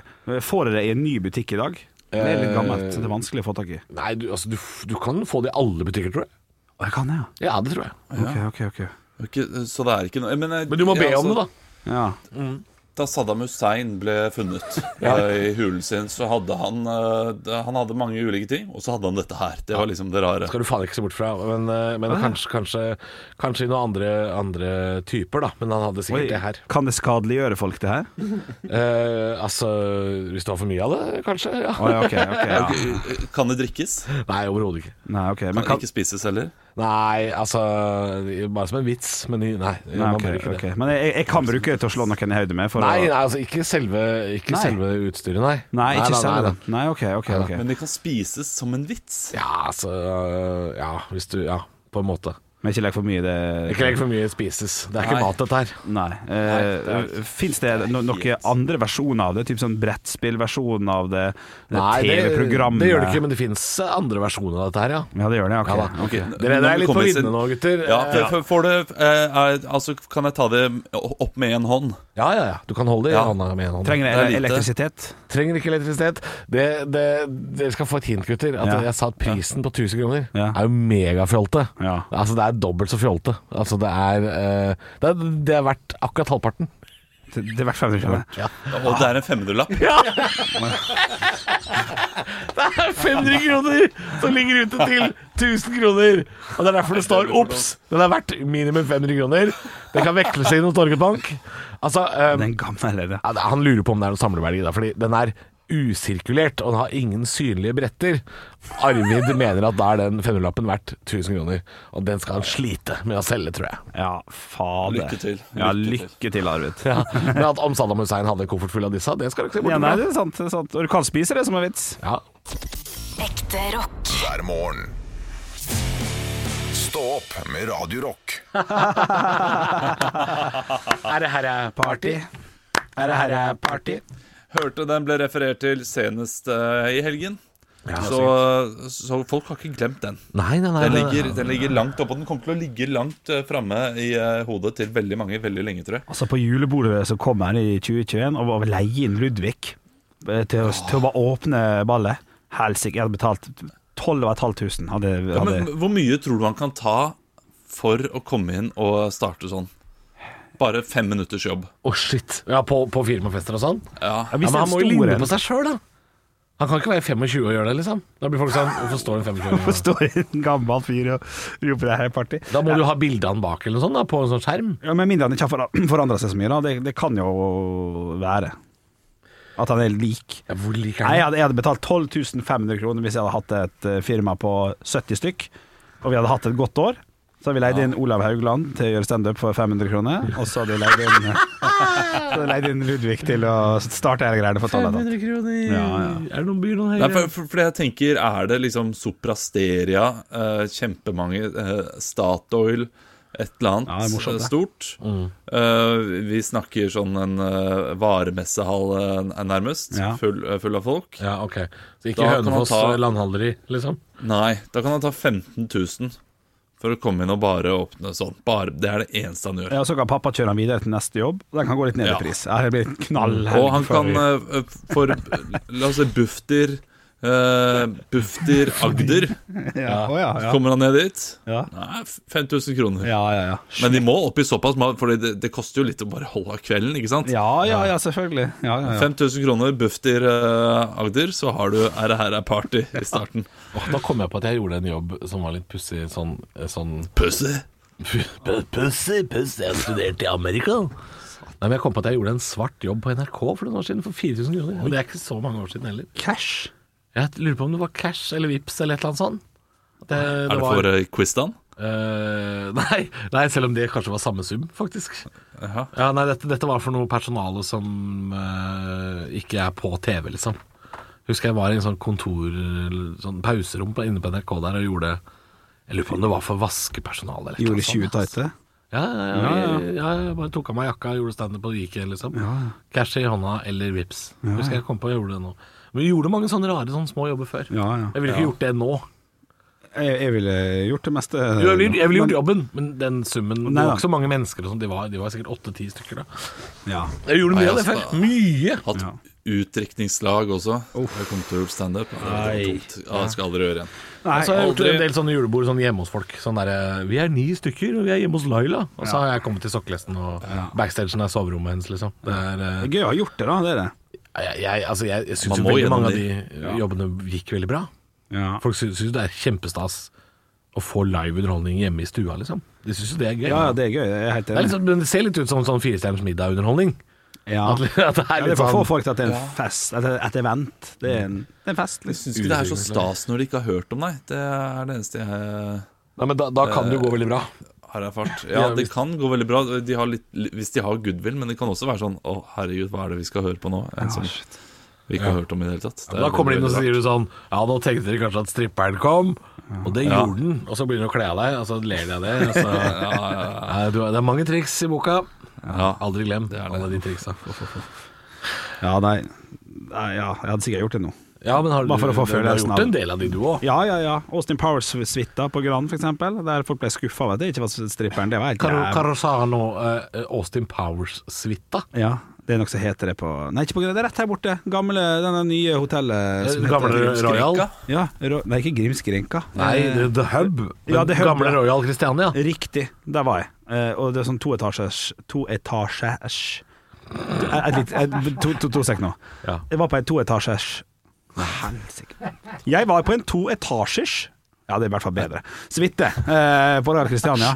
[SPEAKER 3] Får jeg det i en ny butikk i dag? Det er litt
[SPEAKER 5] Eh,
[SPEAKER 3] gammelt, så det er vanskelig å få tak i.
[SPEAKER 5] Nei, du, altså, du, f- du kan få det i alle butikker, tror jeg.
[SPEAKER 3] Å, jeg kan det, ja.
[SPEAKER 5] Ja, det tror jeg.
[SPEAKER 3] Ok, ok, ok.
[SPEAKER 4] Ok, så det er ikke noe Men, jeg-
[SPEAKER 5] Men du må be
[SPEAKER 4] ja,
[SPEAKER 5] om det,
[SPEAKER 4] altså,
[SPEAKER 5] da.
[SPEAKER 3] Ja.
[SPEAKER 4] Da Saddam Hussein ble funnet
[SPEAKER 5] <laughs> Ja.
[SPEAKER 4] eh, i hulen sin, så hadde han eh, det- Han hadde mange ulike ting, og så hadde han dette her. Det var liksom det rare.
[SPEAKER 5] Skal du faen ikke se bort fra. Men, eh, men
[SPEAKER 4] Hæ?
[SPEAKER 5] kanskje, kanskje, kanskje i noen andre, andre typer, da. Men han hadde sikkert
[SPEAKER 3] Oi,
[SPEAKER 5] det her.
[SPEAKER 3] Kan det skadeliggjøre folk, det her?
[SPEAKER 5] Eh, altså, hvis du har for mye av det, kanskje. Ja.
[SPEAKER 3] Å, ja, ok, ok,
[SPEAKER 5] <laughs>
[SPEAKER 3] ja.
[SPEAKER 4] Ok, eh, Kan det drikkes?
[SPEAKER 5] Nei, overhodet ikke.
[SPEAKER 3] Nei, ok, men
[SPEAKER 4] Kan det ikke spises heller?
[SPEAKER 5] Nei, altså Bare som en vits, men i- nei.
[SPEAKER 3] Nei,
[SPEAKER 5] man
[SPEAKER 3] ok,
[SPEAKER 5] bør ikke
[SPEAKER 3] ok.
[SPEAKER 5] det.
[SPEAKER 3] Men jeg, jeg kan bruke det til å slå noen i hodet med. For
[SPEAKER 5] Nei,
[SPEAKER 3] å...
[SPEAKER 5] nei, altså ikke selve, ikke
[SPEAKER 3] Nei.
[SPEAKER 5] selve utstyret, nei.
[SPEAKER 3] Nei, ikke
[SPEAKER 5] nei,
[SPEAKER 3] selve
[SPEAKER 5] nei,
[SPEAKER 3] den. Nei, ok, ok,
[SPEAKER 5] Nei,
[SPEAKER 3] ok.
[SPEAKER 5] nei.
[SPEAKER 4] Men det kan spises som en vits.
[SPEAKER 5] Ja, altså Ja, hvis du Ja, på en måte.
[SPEAKER 3] Men ikke legg for mye i det
[SPEAKER 5] Ikke legg for mye spises. Det er
[SPEAKER 3] Nei.
[SPEAKER 5] ikke mat, dette her.
[SPEAKER 3] Nei. Eh, Fins det no noen andre versjoner av det? Typ sånn brettspillversjon av det? det eh.
[SPEAKER 5] Nei, det,
[SPEAKER 3] TV-programmet?
[SPEAKER 5] det gjør det ikke, men det fins andre versjoner av dette her, ja.
[SPEAKER 3] Ja, det gjør det. Ok.
[SPEAKER 5] Ja da.
[SPEAKER 3] ok.
[SPEAKER 5] Dere- dere
[SPEAKER 4] Når
[SPEAKER 5] er
[SPEAKER 4] vi
[SPEAKER 5] litt på
[SPEAKER 4] kommer til-
[SPEAKER 5] viddene nå, gutter.
[SPEAKER 4] Ja,
[SPEAKER 5] Eh,
[SPEAKER 4] for, for, får det, eh, er, altså, kan jeg ta det opp med én hånd?
[SPEAKER 5] Ja, ja, ja. Du kan holde det i
[SPEAKER 4] Ja.
[SPEAKER 5] hånda med en hånd.
[SPEAKER 3] Trenger
[SPEAKER 4] Det er
[SPEAKER 3] jeg
[SPEAKER 4] lite.
[SPEAKER 3] elektrisitet?
[SPEAKER 5] Trenger ikke elektrisitet. Det, det, dere skal få et hint, gutter. At
[SPEAKER 3] Ja.
[SPEAKER 5] Jeg sa at prisen på 1000 kroner
[SPEAKER 3] Ja.
[SPEAKER 5] er jo megafjolte.
[SPEAKER 3] Ja.
[SPEAKER 5] Altså, det er dobbelt så fjolte. Altså, det er eh, det, er, det er verdt akkurat halvparten.
[SPEAKER 3] Det det er verdt 500 kroner.
[SPEAKER 5] Ja.
[SPEAKER 4] Og det er en 500-lapp?
[SPEAKER 5] <laughs> Det er 500 kroner som ligger ute til 1000 kroner! Og Det er derfor det står 'obs'. Den er verdt minimum 500 kroner. Den kan veksles inn hos Norges Bank. Altså, eh,
[SPEAKER 3] Den gamle er det.
[SPEAKER 5] ja, det- han lurer på om det er noen samleverdi, da, fordi den er usirkulert, og den har ingen synlige bretter. Arvid mener at da er den 500-lappen verdt 1000 kroner, og den skal han slite med å selge, tror jeg.
[SPEAKER 3] Ja, fader.
[SPEAKER 4] Lykke til.
[SPEAKER 3] Ja,
[SPEAKER 4] Lykke
[SPEAKER 3] lykke til, Arvid.
[SPEAKER 5] Ja, men at om Saddam Hussein hadde en koffert full av disse, det skal du ikke se
[SPEAKER 3] Ja,
[SPEAKER 5] bort
[SPEAKER 3] nei,
[SPEAKER 5] fra.
[SPEAKER 3] det er sant, det er sant. Og du kan spise det som en vits.
[SPEAKER 5] <laughs> Ja.
[SPEAKER 2] Ekte rock.
[SPEAKER 1] hver morgen. Stå opp med Radio Rock.
[SPEAKER 5] Er det her er party? Er det her er party?
[SPEAKER 4] <laughs> Hørte den ble referert til senest eh, i helgen. så, så folk har ikke glemt den.
[SPEAKER 5] Nei, nei, nei.
[SPEAKER 4] den,
[SPEAKER 5] nei, nei.
[SPEAKER 4] ligger, den ligger langt oppe, og den kommer til å ligge langt uh, framme i eh, hodet til veldig mange veldig lenge, tror jeg.
[SPEAKER 3] Altså På julebordet som kom her i 2021, og var leie inn Ludvig eh, til å, til å bare åpne ballet. Helsike, jeg hadde betalt 12.500. Hadde,
[SPEAKER 4] Ja,
[SPEAKER 3] hadde,
[SPEAKER 4] men hvor mye tror du han kan ta for å komme inn og starte sånn? Bare fem minutters jobb.
[SPEAKER 5] Å, shit. Ja, på, på firmafester og sånn?
[SPEAKER 4] Ja.
[SPEAKER 5] Ja,
[SPEAKER 3] hvis
[SPEAKER 5] men
[SPEAKER 3] det er
[SPEAKER 5] han må jo
[SPEAKER 3] store- <laughs>
[SPEAKER 5] ligne på seg sjøl, da. Han kan ikke være 25 og gjøre det, liksom. Da blir folk sånn Hvorfor står det en 25
[SPEAKER 3] Hvorfor står det en gammel fyr og roper det her party?
[SPEAKER 5] Da må du ha bilde av han bak eller noe sånt, da, på en sånn skjerm.
[SPEAKER 3] Ja, Med mindre han ikke har <clears throat> for- forandra seg så mye, da. Det, det kan jo være. At han er lik.
[SPEAKER 5] Ja, hvor lik
[SPEAKER 3] Nei,
[SPEAKER 5] er
[SPEAKER 3] jeg
[SPEAKER 5] han?
[SPEAKER 3] hadde, jeg hadde betalt 12 500 kroner hvis jeg hadde hatt et eh, firma på 70 stykk, og vi hadde hatt et godt år. Så har vi leid inn Olav Haugland til å gjøre standup for 500 kroner. Og så har du leid inn, <laughs> så har du leid inn Ludvig til å starte hele greiene for tallet.
[SPEAKER 5] 500 kroner
[SPEAKER 3] Ja, ja.
[SPEAKER 5] Er det noen byer noen
[SPEAKER 4] Nei,
[SPEAKER 5] høyere?
[SPEAKER 4] for, for, for jeg tenker, er det liksom Soprasteria, eh, kjempemange, eh, Statoil, et eller annet
[SPEAKER 5] Ja, det er morsomt,
[SPEAKER 4] eh,
[SPEAKER 5] det.
[SPEAKER 4] stort.
[SPEAKER 5] Mm.
[SPEAKER 4] Eh, vi snakker sånn en eh, varemessehall eh, nærmest,
[SPEAKER 5] Ja.
[SPEAKER 4] full, eh, full av folk.
[SPEAKER 5] Ja, ok Så ikke
[SPEAKER 4] Da kan man
[SPEAKER 5] Hønefoss
[SPEAKER 4] ta-
[SPEAKER 5] landhandleri, liksom?
[SPEAKER 4] Nei, da kan han ta 15 000 for å komme inn og bare åpne sånn. Bare, det er det eneste han gjør.
[SPEAKER 3] Ja, og så kan pappa kjøre han videre til neste jobb. Den kan gå litt ned i
[SPEAKER 4] Ja.
[SPEAKER 3] pris. Ja, det blir knall
[SPEAKER 4] Og han kan eh, for <laughs> La oss si Bufdir eh,
[SPEAKER 3] <laughs>
[SPEAKER 4] Bufdir Agder. eh,
[SPEAKER 3] Ja, å ja, ja.
[SPEAKER 4] Så kommer han ned dit.
[SPEAKER 3] Ja.
[SPEAKER 4] Nei, 5000 kroner.
[SPEAKER 3] Ja, ja, ja.
[SPEAKER 4] Men de må opp i såpass, for det, det koster jo litt å bare holde av kvelden, ikke sant?
[SPEAKER 3] Ja, ja, ja, selvfølgelig. Ja, ja, ja.
[SPEAKER 4] 5000 kroner Bufdir eh, Agder, så har du Er det her er party i starten.
[SPEAKER 5] Åh, da kom jeg på at jeg gjorde en jobb som var litt pussig. Sånn, sånn <laughs>
[SPEAKER 4] Pussy?
[SPEAKER 5] Pussig, pussig. Jeg studerte i Amerika. Nei, men Jeg kom på at jeg gjorde en svart jobb på NRK for noen år siden, for 4000 kroner. Og det er ikke så mange år siden heller.
[SPEAKER 3] Cash?
[SPEAKER 5] Jeg lurer på om det var cash eller vips eller et eller annet sånt. Det,
[SPEAKER 4] er det for uh, quiz-dagen?
[SPEAKER 5] Eh, <laughs> nei, nei, selv om det kanskje var samme sum, faktisk.
[SPEAKER 4] Jaha.
[SPEAKER 5] Ja, nei, dette, dette var for noe personale som eh, ikke er på TV, liksom. Husker jeg var i en sånn kontor, sånn pauserom på, inne på NRK der og gjorde Jeg lurer på om det var for vaskepersonale eller et
[SPEAKER 3] Gjorde
[SPEAKER 5] eller annet
[SPEAKER 3] 20
[SPEAKER 5] sånt, altså.
[SPEAKER 3] tighte.
[SPEAKER 5] Ja, ja, ja,
[SPEAKER 3] Ja, ja.
[SPEAKER 5] Jeg, jeg bare tok av meg jakka, gjorde standup og gikk, liksom.
[SPEAKER 3] Ja, ja.
[SPEAKER 5] Cash i hånda eller vips.
[SPEAKER 3] Ja, ja.
[SPEAKER 5] Husker jeg kom på og gjorde det nå. Men vi gjorde mange sånne rare sånne små jobber før.
[SPEAKER 3] Ja, ja.
[SPEAKER 5] Jeg ville ikke
[SPEAKER 3] Ja.
[SPEAKER 5] gjort det nå.
[SPEAKER 3] Jeg, jeg ville gjort det meste.
[SPEAKER 5] Jo, jeg ville, jeg ville gjort
[SPEAKER 3] Eh, Men-
[SPEAKER 5] jobben, men den summen Det
[SPEAKER 3] Nei, da.
[SPEAKER 5] var ikke så mange mennesker. og sånn, De var, de var sikkert åtte-ti stykker. da
[SPEAKER 3] Ja.
[SPEAKER 5] Jeg gjorde mye av det
[SPEAKER 4] Nei,
[SPEAKER 5] før.
[SPEAKER 4] altså,
[SPEAKER 5] Mye!
[SPEAKER 4] Hatt utdrikningslag også. Jeg kom til å gjøre standup. Det var
[SPEAKER 5] Nei.
[SPEAKER 4] dumt. Ja, det skal jeg aldri gjøre igjen.
[SPEAKER 5] Nei, så har Altså, jeg gjort
[SPEAKER 4] aldri.
[SPEAKER 5] en del sånne julebord sånn hjemme hos folk. Sånn derre Vi er ni stykker, og vi er hjemme hos Laila. Og så har jeg kommet til sokkelesten, og backstagen er soverommet hennes, liksom. Det er,
[SPEAKER 3] Det
[SPEAKER 5] eh,
[SPEAKER 3] er gøy å ha gjort det, da. Det er det.
[SPEAKER 5] jeg, jeg, altså, jeg, jeg
[SPEAKER 4] Man
[SPEAKER 5] syns jo
[SPEAKER 4] må
[SPEAKER 5] veldig mange
[SPEAKER 4] gjennom
[SPEAKER 5] av de
[SPEAKER 4] de. Ja.
[SPEAKER 5] jobbene gikk veldig bra.
[SPEAKER 3] Ja.
[SPEAKER 5] Folk syns syns jo det er kjempestas å få live underholdning hjemme i stua, liksom. De syns jo det er gøy.
[SPEAKER 3] Ja, ja, det er gøy. Jeg er helt
[SPEAKER 5] Det, er
[SPEAKER 3] enig.
[SPEAKER 5] liksom, men det ser litt ut som sånn Firestjerners middag-underholdning.
[SPEAKER 3] Ja.
[SPEAKER 5] At, at det
[SPEAKER 3] Ja,
[SPEAKER 5] er
[SPEAKER 3] det er
[SPEAKER 5] litt
[SPEAKER 3] for å få
[SPEAKER 5] sånn
[SPEAKER 3] folk til at det er en fest, at det er et event. Det er en, det er en fest. liksom.
[SPEAKER 4] Jeg syns ikke det er så stas når de ikke har hørt om deg. Det er det eneste jeg
[SPEAKER 5] Nei, men da, da kan det jo gå veldig bra.
[SPEAKER 4] har erfart.
[SPEAKER 5] <laughs>
[SPEAKER 4] Ja,
[SPEAKER 5] Ja,
[SPEAKER 4] det
[SPEAKER 5] hvis-
[SPEAKER 4] kan gå veldig bra de har litt, hvis de har goodwill, men det kan også være sånn Å, herregud, hva er det vi skal høre på nå? En som vi ikke har hørt om i det hele tatt.
[SPEAKER 5] Ja,
[SPEAKER 4] Det er
[SPEAKER 5] Da kommer de inn og
[SPEAKER 4] veldig
[SPEAKER 5] sier
[SPEAKER 4] rart.
[SPEAKER 5] du sånn Ja, nå tenkte dere kanskje at stripperen kom Og det
[SPEAKER 4] Ja.
[SPEAKER 5] gjorde den Og så begynner du å kle av deg Og så ler de av det og så,
[SPEAKER 4] Ja, ja, ja.
[SPEAKER 5] Nei, du, Det er mange triks i boka
[SPEAKER 4] Ja.
[SPEAKER 5] Aldri glem
[SPEAKER 4] er det.
[SPEAKER 5] alle de triksa
[SPEAKER 3] Ja, nei. nei ja, jeg hadde sikkert gjort det nå.
[SPEAKER 5] Ja, men har du,
[SPEAKER 3] Bare for å få
[SPEAKER 5] du, har
[SPEAKER 3] følelsen av
[SPEAKER 5] gjort en del av de du også
[SPEAKER 3] Ja, ja, ja. Austin Powers-suita på Gran, for eksempel. Der folk ble skuffa over at det ikke var stripperen. Det var helt
[SPEAKER 5] Karo,
[SPEAKER 3] jævlig.
[SPEAKER 5] Karosano eh, Austin Powers svitta
[SPEAKER 3] Ja, det er noe som heter det på Nei, ikke på Gran, det er rett her borte. Gamle, denne nye hotellet som heter
[SPEAKER 5] Gamle
[SPEAKER 3] Grimskrenka.
[SPEAKER 5] Royal
[SPEAKER 3] Ja, ro, nei, ikke Grimskrenka.
[SPEAKER 5] Nei,
[SPEAKER 3] Eh,
[SPEAKER 5] The, the Hub
[SPEAKER 3] Ja, The Hub,
[SPEAKER 5] Gamle
[SPEAKER 3] ja.
[SPEAKER 5] Royal Christiania
[SPEAKER 3] Riktig, der var jeg. Eh, og det er sånn toetasjes Toetasjes Et litt et- To, to, to sek nå.
[SPEAKER 5] Ja.
[SPEAKER 3] Jeg var på en toetasjes Helsike. Jeg var på en toetasjers ja, det er i hvert fall bedre. Suite eh, på Real Christiania.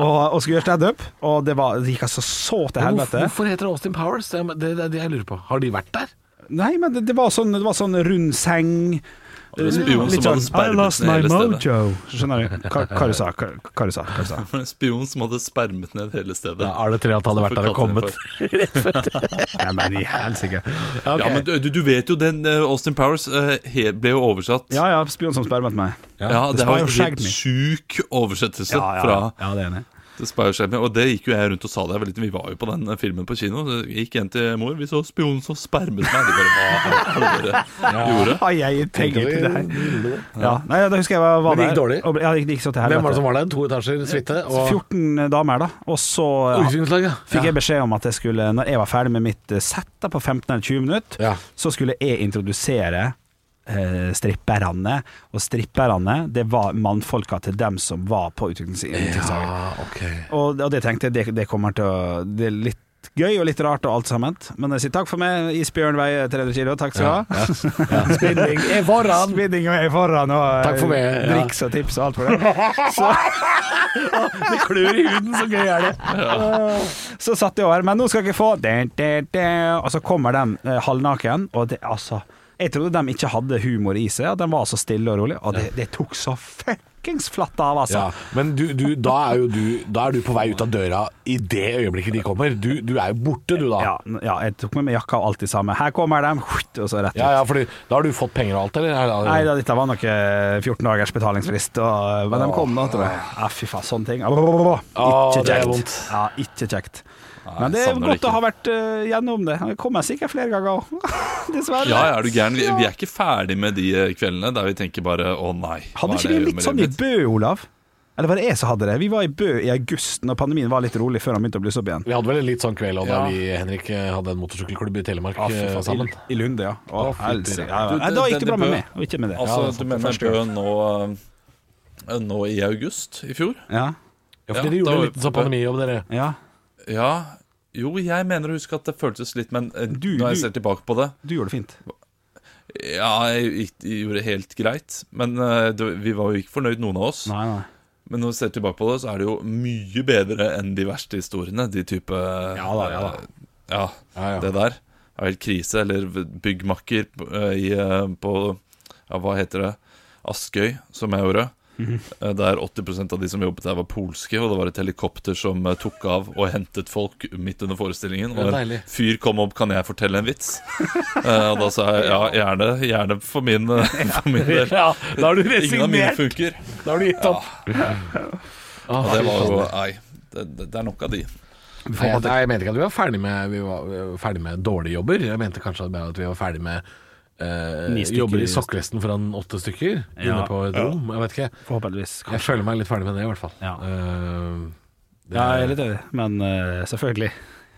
[SPEAKER 3] Og, og skulle gjøre standup, og det, var, det gikk altså så til
[SPEAKER 5] Hvorfor,
[SPEAKER 3] helvete.
[SPEAKER 5] hvorfor heter det Austin Powers? Det er det, det, er det jeg lurer på Har de vært der?
[SPEAKER 3] Nei, men det, det, var sånn, det var sånn rund seng. sånn,
[SPEAKER 4] Det var spion som
[SPEAKER 5] sånn,
[SPEAKER 4] hadde
[SPEAKER 3] I
[SPEAKER 4] spermet
[SPEAKER 3] lost
[SPEAKER 4] ned
[SPEAKER 3] my
[SPEAKER 4] hele stedet.
[SPEAKER 3] mojo. Skjønner du? Hva hva du sa hva- hva du? sa, Hva du sa?
[SPEAKER 4] Det var <laughs> en Spion som hadde spermet ned hele stedet.
[SPEAKER 5] Ja, er det tre at hadde vært der og kommet
[SPEAKER 3] Nei, men i helsike.
[SPEAKER 4] Ja, men du, du- du vet jo den eh, Austin Powers eh, he- ble jo oversatt
[SPEAKER 3] Ja ja, spion som spermet meg.
[SPEAKER 4] Ja, det,
[SPEAKER 3] Det
[SPEAKER 4] var
[SPEAKER 3] spar
[SPEAKER 4] en
[SPEAKER 3] jo
[SPEAKER 4] helt
[SPEAKER 3] skjegg mitt.
[SPEAKER 4] sjuk oversettelse
[SPEAKER 3] Ja, ja,
[SPEAKER 4] fra
[SPEAKER 3] ja, det er enig.
[SPEAKER 4] The Spy Who Shagged Me, og det gikk jo jeg rundt og sa da jeg var liten. Vi var jo på den eh, filmen på kino. Så jeg gikk hjem til mor. Vi så spionen som spermet meg. Det bare, hva er det dere gjorde?
[SPEAKER 3] Har jeg gitt penger til det her? Ja, nei, da husker jeg var, var
[SPEAKER 5] Men det gikk
[SPEAKER 3] der,
[SPEAKER 5] dårlig?
[SPEAKER 3] og ble- Ja, det gikk- det gikk så til
[SPEAKER 5] Hvem var det
[SPEAKER 3] helvete.
[SPEAKER 5] som var der? To etasjer, svitte og
[SPEAKER 3] 14 damer, da. Og så ja,
[SPEAKER 5] Utviklingslag, ja.
[SPEAKER 3] fikk
[SPEAKER 5] Ja.
[SPEAKER 3] jeg beskjed om at jeg skulle, når jeg var ferdig med mitt eh, sett da, på 15 eller 20 minutter,
[SPEAKER 5] Ja.
[SPEAKER 3] så skulle jeg introdusere eh, stripperne. Og stripperne, det var mannfolka til dem som var på utviklingslaget.
[SPEAKER 5] Ja, Ah, ok
[SPEAKER 3] Og, og det tenkte jeg, det, det kommer til å Det er litt gøy og litt rart og alt sammen. Men jeg sier takk for meg, isbjørn veier 300 kilo, takk skal du ha. <laughs> Spinning er foran! Spinning er foran og
[SPEAKER 5] Takk for meg,
[SPEAKER 3] eh,
[SPEAKER 5] ja.
[SPEAKER 3] driks og tips og alt for det. <laughs>
[SPEAKER 5] Det klør i huden, så gøy er det.
[SPEAKER 3] Så satt jeg over, men nå skal jeg få dun, dun, dun. Og så kommer de eh, halvnaken, og det altså Jeg trodde de ikke hadde humor i seg, at de var så stille og rolig, og det, det tok så fett. fuckings flatt av, altså.
[SPEAKER 5] Ja, men du, du, da, er jo du, da er du på vei ut av døra i det øyeblikket de kommer. Du, du er jo borte, du da.
[SPEAKER 3] Ja, ja, jeg tok med meg jakka og alt det samme. Her kommer de, og så rett ut.
[SPEAKER 5] Ja, ja, fordi da har du fått penger og alt, eller?
[SPEAKER 3] Nei, da, dette var noe 14 dagers betalingsfrist, og, men de kom da til meg. Ja, fy faen, sånne ting.
[SPEAKER 5] Å,
[SPEAKER 3] Ikke
[SPEAKER 5] det er
[SPEAKER 3] kjekt.
[SPEAKER 5] vondt.
[SPEAKER 3] Ja, ikke kjekt. Men det er
[SPEAKER 4] savner det
[SPEAKER 3] godt
[SPEAKER 4] ikke.
[SPEAKER 3] å ha vært eh, gjennom det. Det kommer sikkert flere ganger òg, <laughs> dessverre.
[SPEAKER 4] Ja, ja, er du gæren? Vi, vi er ikke ferdig med de eh, kveldene der vi tenker bare å nei. hva
[SPEAKER 3] Hadde
[SPEAKER 4] er
[SPEAKER 3] ikke vi
[SPEAKER 4] det jeg gjør
[SPEAKER 3] litt
[SPEAKER 4] med
[SPEAKER 3] sånn i
[SPEAKER 4] livet mitt?
[SPEAKER 3] Bø, Olav? Eller var det jeg som hadde det? Vi var i Bø i august, når pandemien var litt rolig før han begynte å blusse opp igjen.
[SPEAKER 5] Vi hadde vel en litt sånn kveld også, da
[SPEAKER 3] Ja.
[SPEAKER 5] vi Henrik eh, hadde en motorsykkelklubb i Telemark
[SPEAKER 3] Ja, fy faen,
[SPEAKER 5] eh, sammen.
[SPEAKER 3] I Lunde, ja. Å,
[SPEAKER 5] Å, fy
[SPEAKER 3] helsike.
[SPEAKER 5] dere.
[SPEAKER 3] Ja, ja. Nei, da gikk det bra med meg, og ikke med det. Ja,
[SPEAKER 4] Altså,
[SPEAKER 3] det
[SPEAKER 4] du
[SPEAKER 3] var
[SPEAKER 4] mener
[SPEAKER 3] første
[SPEAKER 4] Bø nå, eh, nå i august i fjor?
[SPEAKER 3] Ja.
[SPEAKER 5] Ja, for dere gjorde
[SPEAKER 4] da var
[SPEAKER 5] litt
[SPEAKER 4] vi på
[SPEAKER 5] sånn
[SPEAKER 4] Bø.
[SPEAKER 5] pandemijobb, dere.
[SPEAKER 3] Ja.
[SPEAKER 4] Ja. Jo, jeg mener å huske at det føltes litt, men eh, når jeg ser tilbake på det
[SPEAKER 3] Du gjorde det fint.
[SPEAKER 4] Ja, jeg, gikk- jeg gjorde det helt greit, men eh, det, vi var jo ikke fornøyd, noen av oss. Men når vi ser tilbake på det, så er det jo mye bedre enn de verste historiene. De type Ja
[SPEAKER 5] da, ja da.
[SPEAKER 4] Ja, det der er helt krise. Eller byggmakker eh, i, eh, på Ja, hva heter det? Askøy, som jeg gjorde.
[SPEAKER 5] Mhm.
[SPEAKER 4] Eh, Der 80 av de som jobbet der, var polske. Og det var et helikopter som eh, tok av og hentet folk midt under forestillingen.
[SPEAKER 5] Det er
[SPEAKER 4] Og en
[SPEAKER 5] deilig.
[SPEAKER 4] fyr kom opp 'Kan jeg fortelle en
[SPEAKER 5] <laughs>
[SPEAKER 4] vits?' Eh, Og da sa jeg ja, gjerne, gjerne for min,
[SPEAKER 5] <laughs>
[SPEAKER 4] eh, for min del.
[SPEAKER 5] Ja, da har du
[SPEAKER 4] Ingen av mine
[SPEAKER 5] resignert.
[SPEAKER 4] funker.
[SPEAKER 5] Da har du gitt opp.
[SPEAKER 4] Ja.
[SPEAKER 5] Ah,
[SPEAKER 4] Ja, det var jo
[SPEAKER 5] fy faen.
[SPEAKER 4] Nei, det, det, det er nok av de.
[SPEAKER 5] Nei, jeg, nei, jeg mente ikke at vi var ferdig med, vi var, vi var ferdig med dårlige jobber. Jeg mente kanskje at- at vi var ferdig med eh,
[SPEAKER 3] Ni stykker.
[SPEAKER 5] jobber i sokkelesten foran åtte stykker inne på et
[SPEAKER 3] Ja.
[SPEAKER 5] rom. Jeg vet ikke.
[SPEAKER 3] Forhåpentligvis.
[SPEAKER 5] Jeg føler meg litt ferdig med det, i hvert fall. Ja. det
[SPEAKER 3] Ja, jeg er litt enig, men eh, selvfølgelig.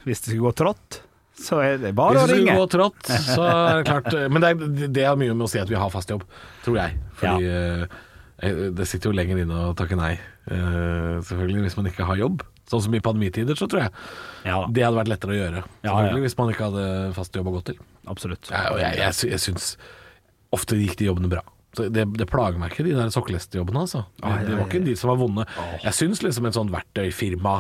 [SPEAKER 3] Hvis det skulle gå trått, så er det bare å
[SPEAKER 5] Hvis det
[SPEAKER 3] ringe.
[SPEAKER 5] skulle gå <laughs> trått, så er det klart eh, Men det, er, det har mye med å si at vi har fast jobb, tror jeg. Fordi eh, det sitter jo lenger inne å takke nei, eh, selvfølgelig, hvis man ikke har jobb. Sånn som i pandemitider, så tror jeg det hadde vært lettere å gjøre.
[SPEAKER 3] Ja,
[SPEAKER 5] Selvfølgelig,
[SPEAKER 3] ja.
[SPEAKER 5] Hvis man ikke hadde fast jobb å gå til.
[SPEAKER 3] Absolutt.
[SPEAKER 5] Ja, og jeg, jeg, sy- jeg syns ofte gikk de jobbene bra. Så det, det plager meg ikke, de der sokkelestejobbene. Altså. Det,
[SPEAKER 3] Ai,
[SPEAKER 5] det
[SPEAKER 3] ai,
[SPEAKER 5] var ikke de som var vonde. Jeg syns liksom et sånt verktøyfirma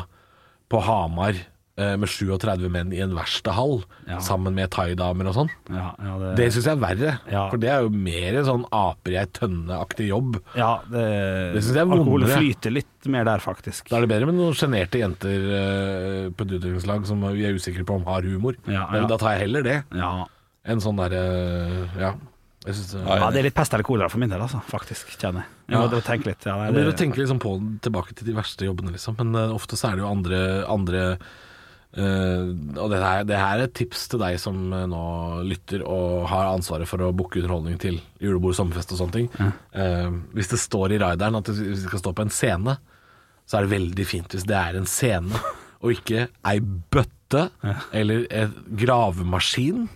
[SPEAKER 5] på Hamar eh, med 37 menn i en verkstedhall
[SPEAKER 3] Ja.
[SPEAKER 5] sammen med thaidamer og sånn,
[SPEAKER 3] Ja, ja, det,
[SPEAKER 5] det syns jeg er verre.
[SPEAKER 3] Ja.
[SPEAKER 5] For det er jo mer en sånn aper i ei tønne-aktig jobb.
[SPEAKER 3] ja, det,
[SPEAKER 5] Det synes jeg er
[SPEAKER 3] Alkoholen
[SPEAKER 5] vondere.
[SPEAKER 3] flyter litt mer der, faktisk.
[SPEAKER 5] Da er det bedre med noen sjenerte jenter eh, på et utviklingslag som vi er usikre på om har humor.
[SPEAKER 3] Ja,
[SPEAKER 5] Men
[SPEAKER 3] ja.
[SPEAKER 5] Da tar jeg heller det
[SPEAKER 3] Ja.
[SPEAKER 5] enn sånn derre Ja. Jeg synes,
[SPEAKER 3] Ja, det er litt pest eller kolera for min del, altså, faktisk, kjenner jeg. Jeg må
[SPEAKER 5] Ja.
[SPEAKER 3] tenke litt. Ja, nei,
[SPEAKER 5] Jeg blir å
[SPEAKER 3] det-
[SPEAKER 5] tenke liksom på tilbake til de verste jobbene, liksom. Men eh, ofte så er det jo andre, andre eh, Og det her, det her er et tips til deg som eh, nå lytter og har ansvaret for å booke underholdning til julebord, sommerfest og sånne ting. Eh, hvis det står i rideren at du skal stå på en scene, så er det veldig fint hvis det er en scene, og ikke ei bøtte eller en gravemaskin,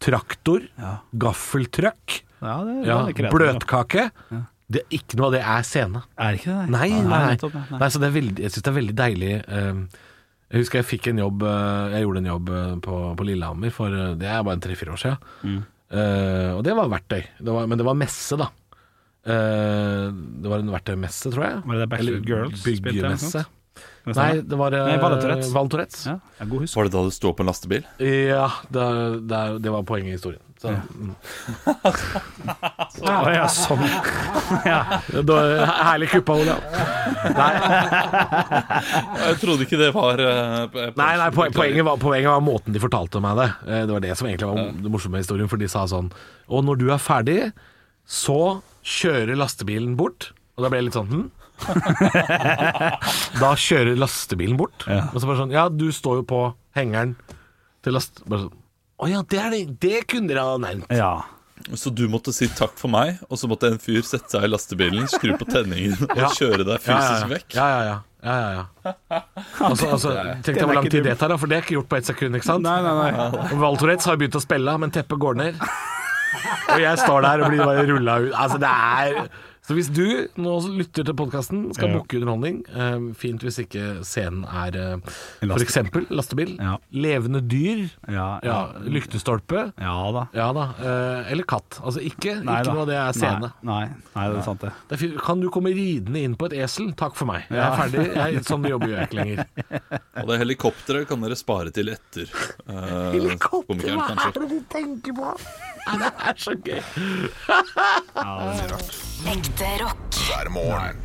[SPEAKER 5] traktor, gaffeltrøkk,
[SPEAKER 3] Ja, det, det
[SPEAKER 5] ja,
[SPEAKER 3] er krevende,
[SPEAKER 5] bløtkake. Det, ikke noe av det er scene.
[SPEAKER 3] Er det ikke det?
[SPEAKER 5] Nei, nei, nei.
[SPEAKER 3] nettopp, nei.
[SPEAKER 5] nei så det er veldig, jeg syns det er veldig deilig ehm, Jeg husker jeg fikk en jobb eh, Jeg gjorde en jobb eh, på, på Lillehammer for eh, Det er bare tre-fire år siden.
[SPEAKER 3] Mm.
[SPEAKER 5] Eh, og det var verktøy. Det var, men det var messe, da. Eh, det var en verktøymesse, tror jeg.
[SPEAKER 3] Var det der Backstreet
[SPEAKER 5] Eller
[SPEAKER 3] Girls spilte eller noe
[SPEAKER 5] Byggemesse.
[SPEAKER 3] sånt? Kan det
[SPEAKER 5] Nei,
[SPEAKER 3] stemme?
[SPEAKER 5] det var
[SPEAKER 3] Nei, Val
[SPEAKER 5] eh,
[SPEAKER 3] Thorets.
[SPEAKER 5] Val Thorets.
[SPEAKER 3] Ja, ja, god sånn. husk.
[SPEAKER 4] Var det da du sto på en lastebil?
[SPEAKER 5] Ja, det, det, det var poenget i historien. Så, mm.
[SPEAKER 3] Ja, ja, sånn. Ja.
[SPEAKER 5] Det var Herlig kuppa,
[SPEAKER 3] <laughs>
[SPEAKER 5] Olav.
[SPEAKER 4] Jeg trodde ikke det var eh, p- p-
[SPEAKER 5] Nei, nei poen- poenget, var, poenget var måten de fortalte meg det. Eh, Det var det som egentlig var det morsomme med historien, for de sa sånn Og når du er ferdig, så kjører lastebilen bort. Og da ble jeg litt sånn hm? <laughs> Da kjører lastebilen bort. Og så bare sånn Ja, du står jo på hengeren til last... Bare sånn Å ja, det, er det, det kunne dere ha nevnt.
[SPEAKER 4] Så du måtte si takk for meg, og så måtte en fyr sette seg i lastebilen, skru på tenningen og
[SPEAKER 5] <laughs> Ja.
[SPEAKER 4] kjøre
[SPEAKER 5] Ja,
[SPEAKER 4] deg
[SPEAKER 5] ja,
[SPEAKER 4] fysisk
[SPEAKER 5] ja.
[SPEAKER 4] vekk?
[SPEAKER 5] Ja, ja, ja. ja, ja, ja. <laughs> Altså, altså, Tenk deg hvor lang tid det tar, da, for det er ikke gjort på ett sekund. ikke sant?
[SPEAKER 3] Nei, nei,
[SPEAKER 5] Og Val Thorets har begynt å spille, men teppet går ned. Og jeg står der og blir bare rulla ut. Altså, det er Så hvis du nå lytter til podkasten, skal
[SPEAKER 3] Ja.
[SPEAKER 5] booke underholdning eh, Fint hvis ikke scenen er eh,
[SPEAKER 3] En
[SPEAKER 5] for
[SPEAKER 3] lastebil.
[SPEAKER 5] eksempel lastebil,
[SPEAKER 3] Ja.
[SPEAKER 5] levende dyr,
[SPEAKER 3] Ja,
[SPEAKER 5] ja, lyktestolpe
[SPEAKER 3] Ja da.
[SPEAKER 5] ja da, eh, eller katt. Altså ikke,
[SPEAKER 3] Nei
[SPEAKER 5] ikke
[SPEAKER 3] da.
[SPEAKER 5] noe av det er scene.
[SPEAKER 3] Nei, nei, nei det er sant, det.
[SPEAKER 5] Det er fint. Kan du komme ridende inn på et esel? Takk for meg. Jeg er ferdig. Jeg, sånn jobber jeg ikke lenger.
[SPEAKER 4] Og det helikopteret kan dere spare til etter. eh, komikeren, kanskje.
[SPEAKER 5] det du tenker på? Det er så gøy.
[SPEAKER 2] Ekte rock.
[SPEAKER 1] hver morgen.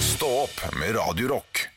[SPEAKER 1] Stå opp med Radio Rock.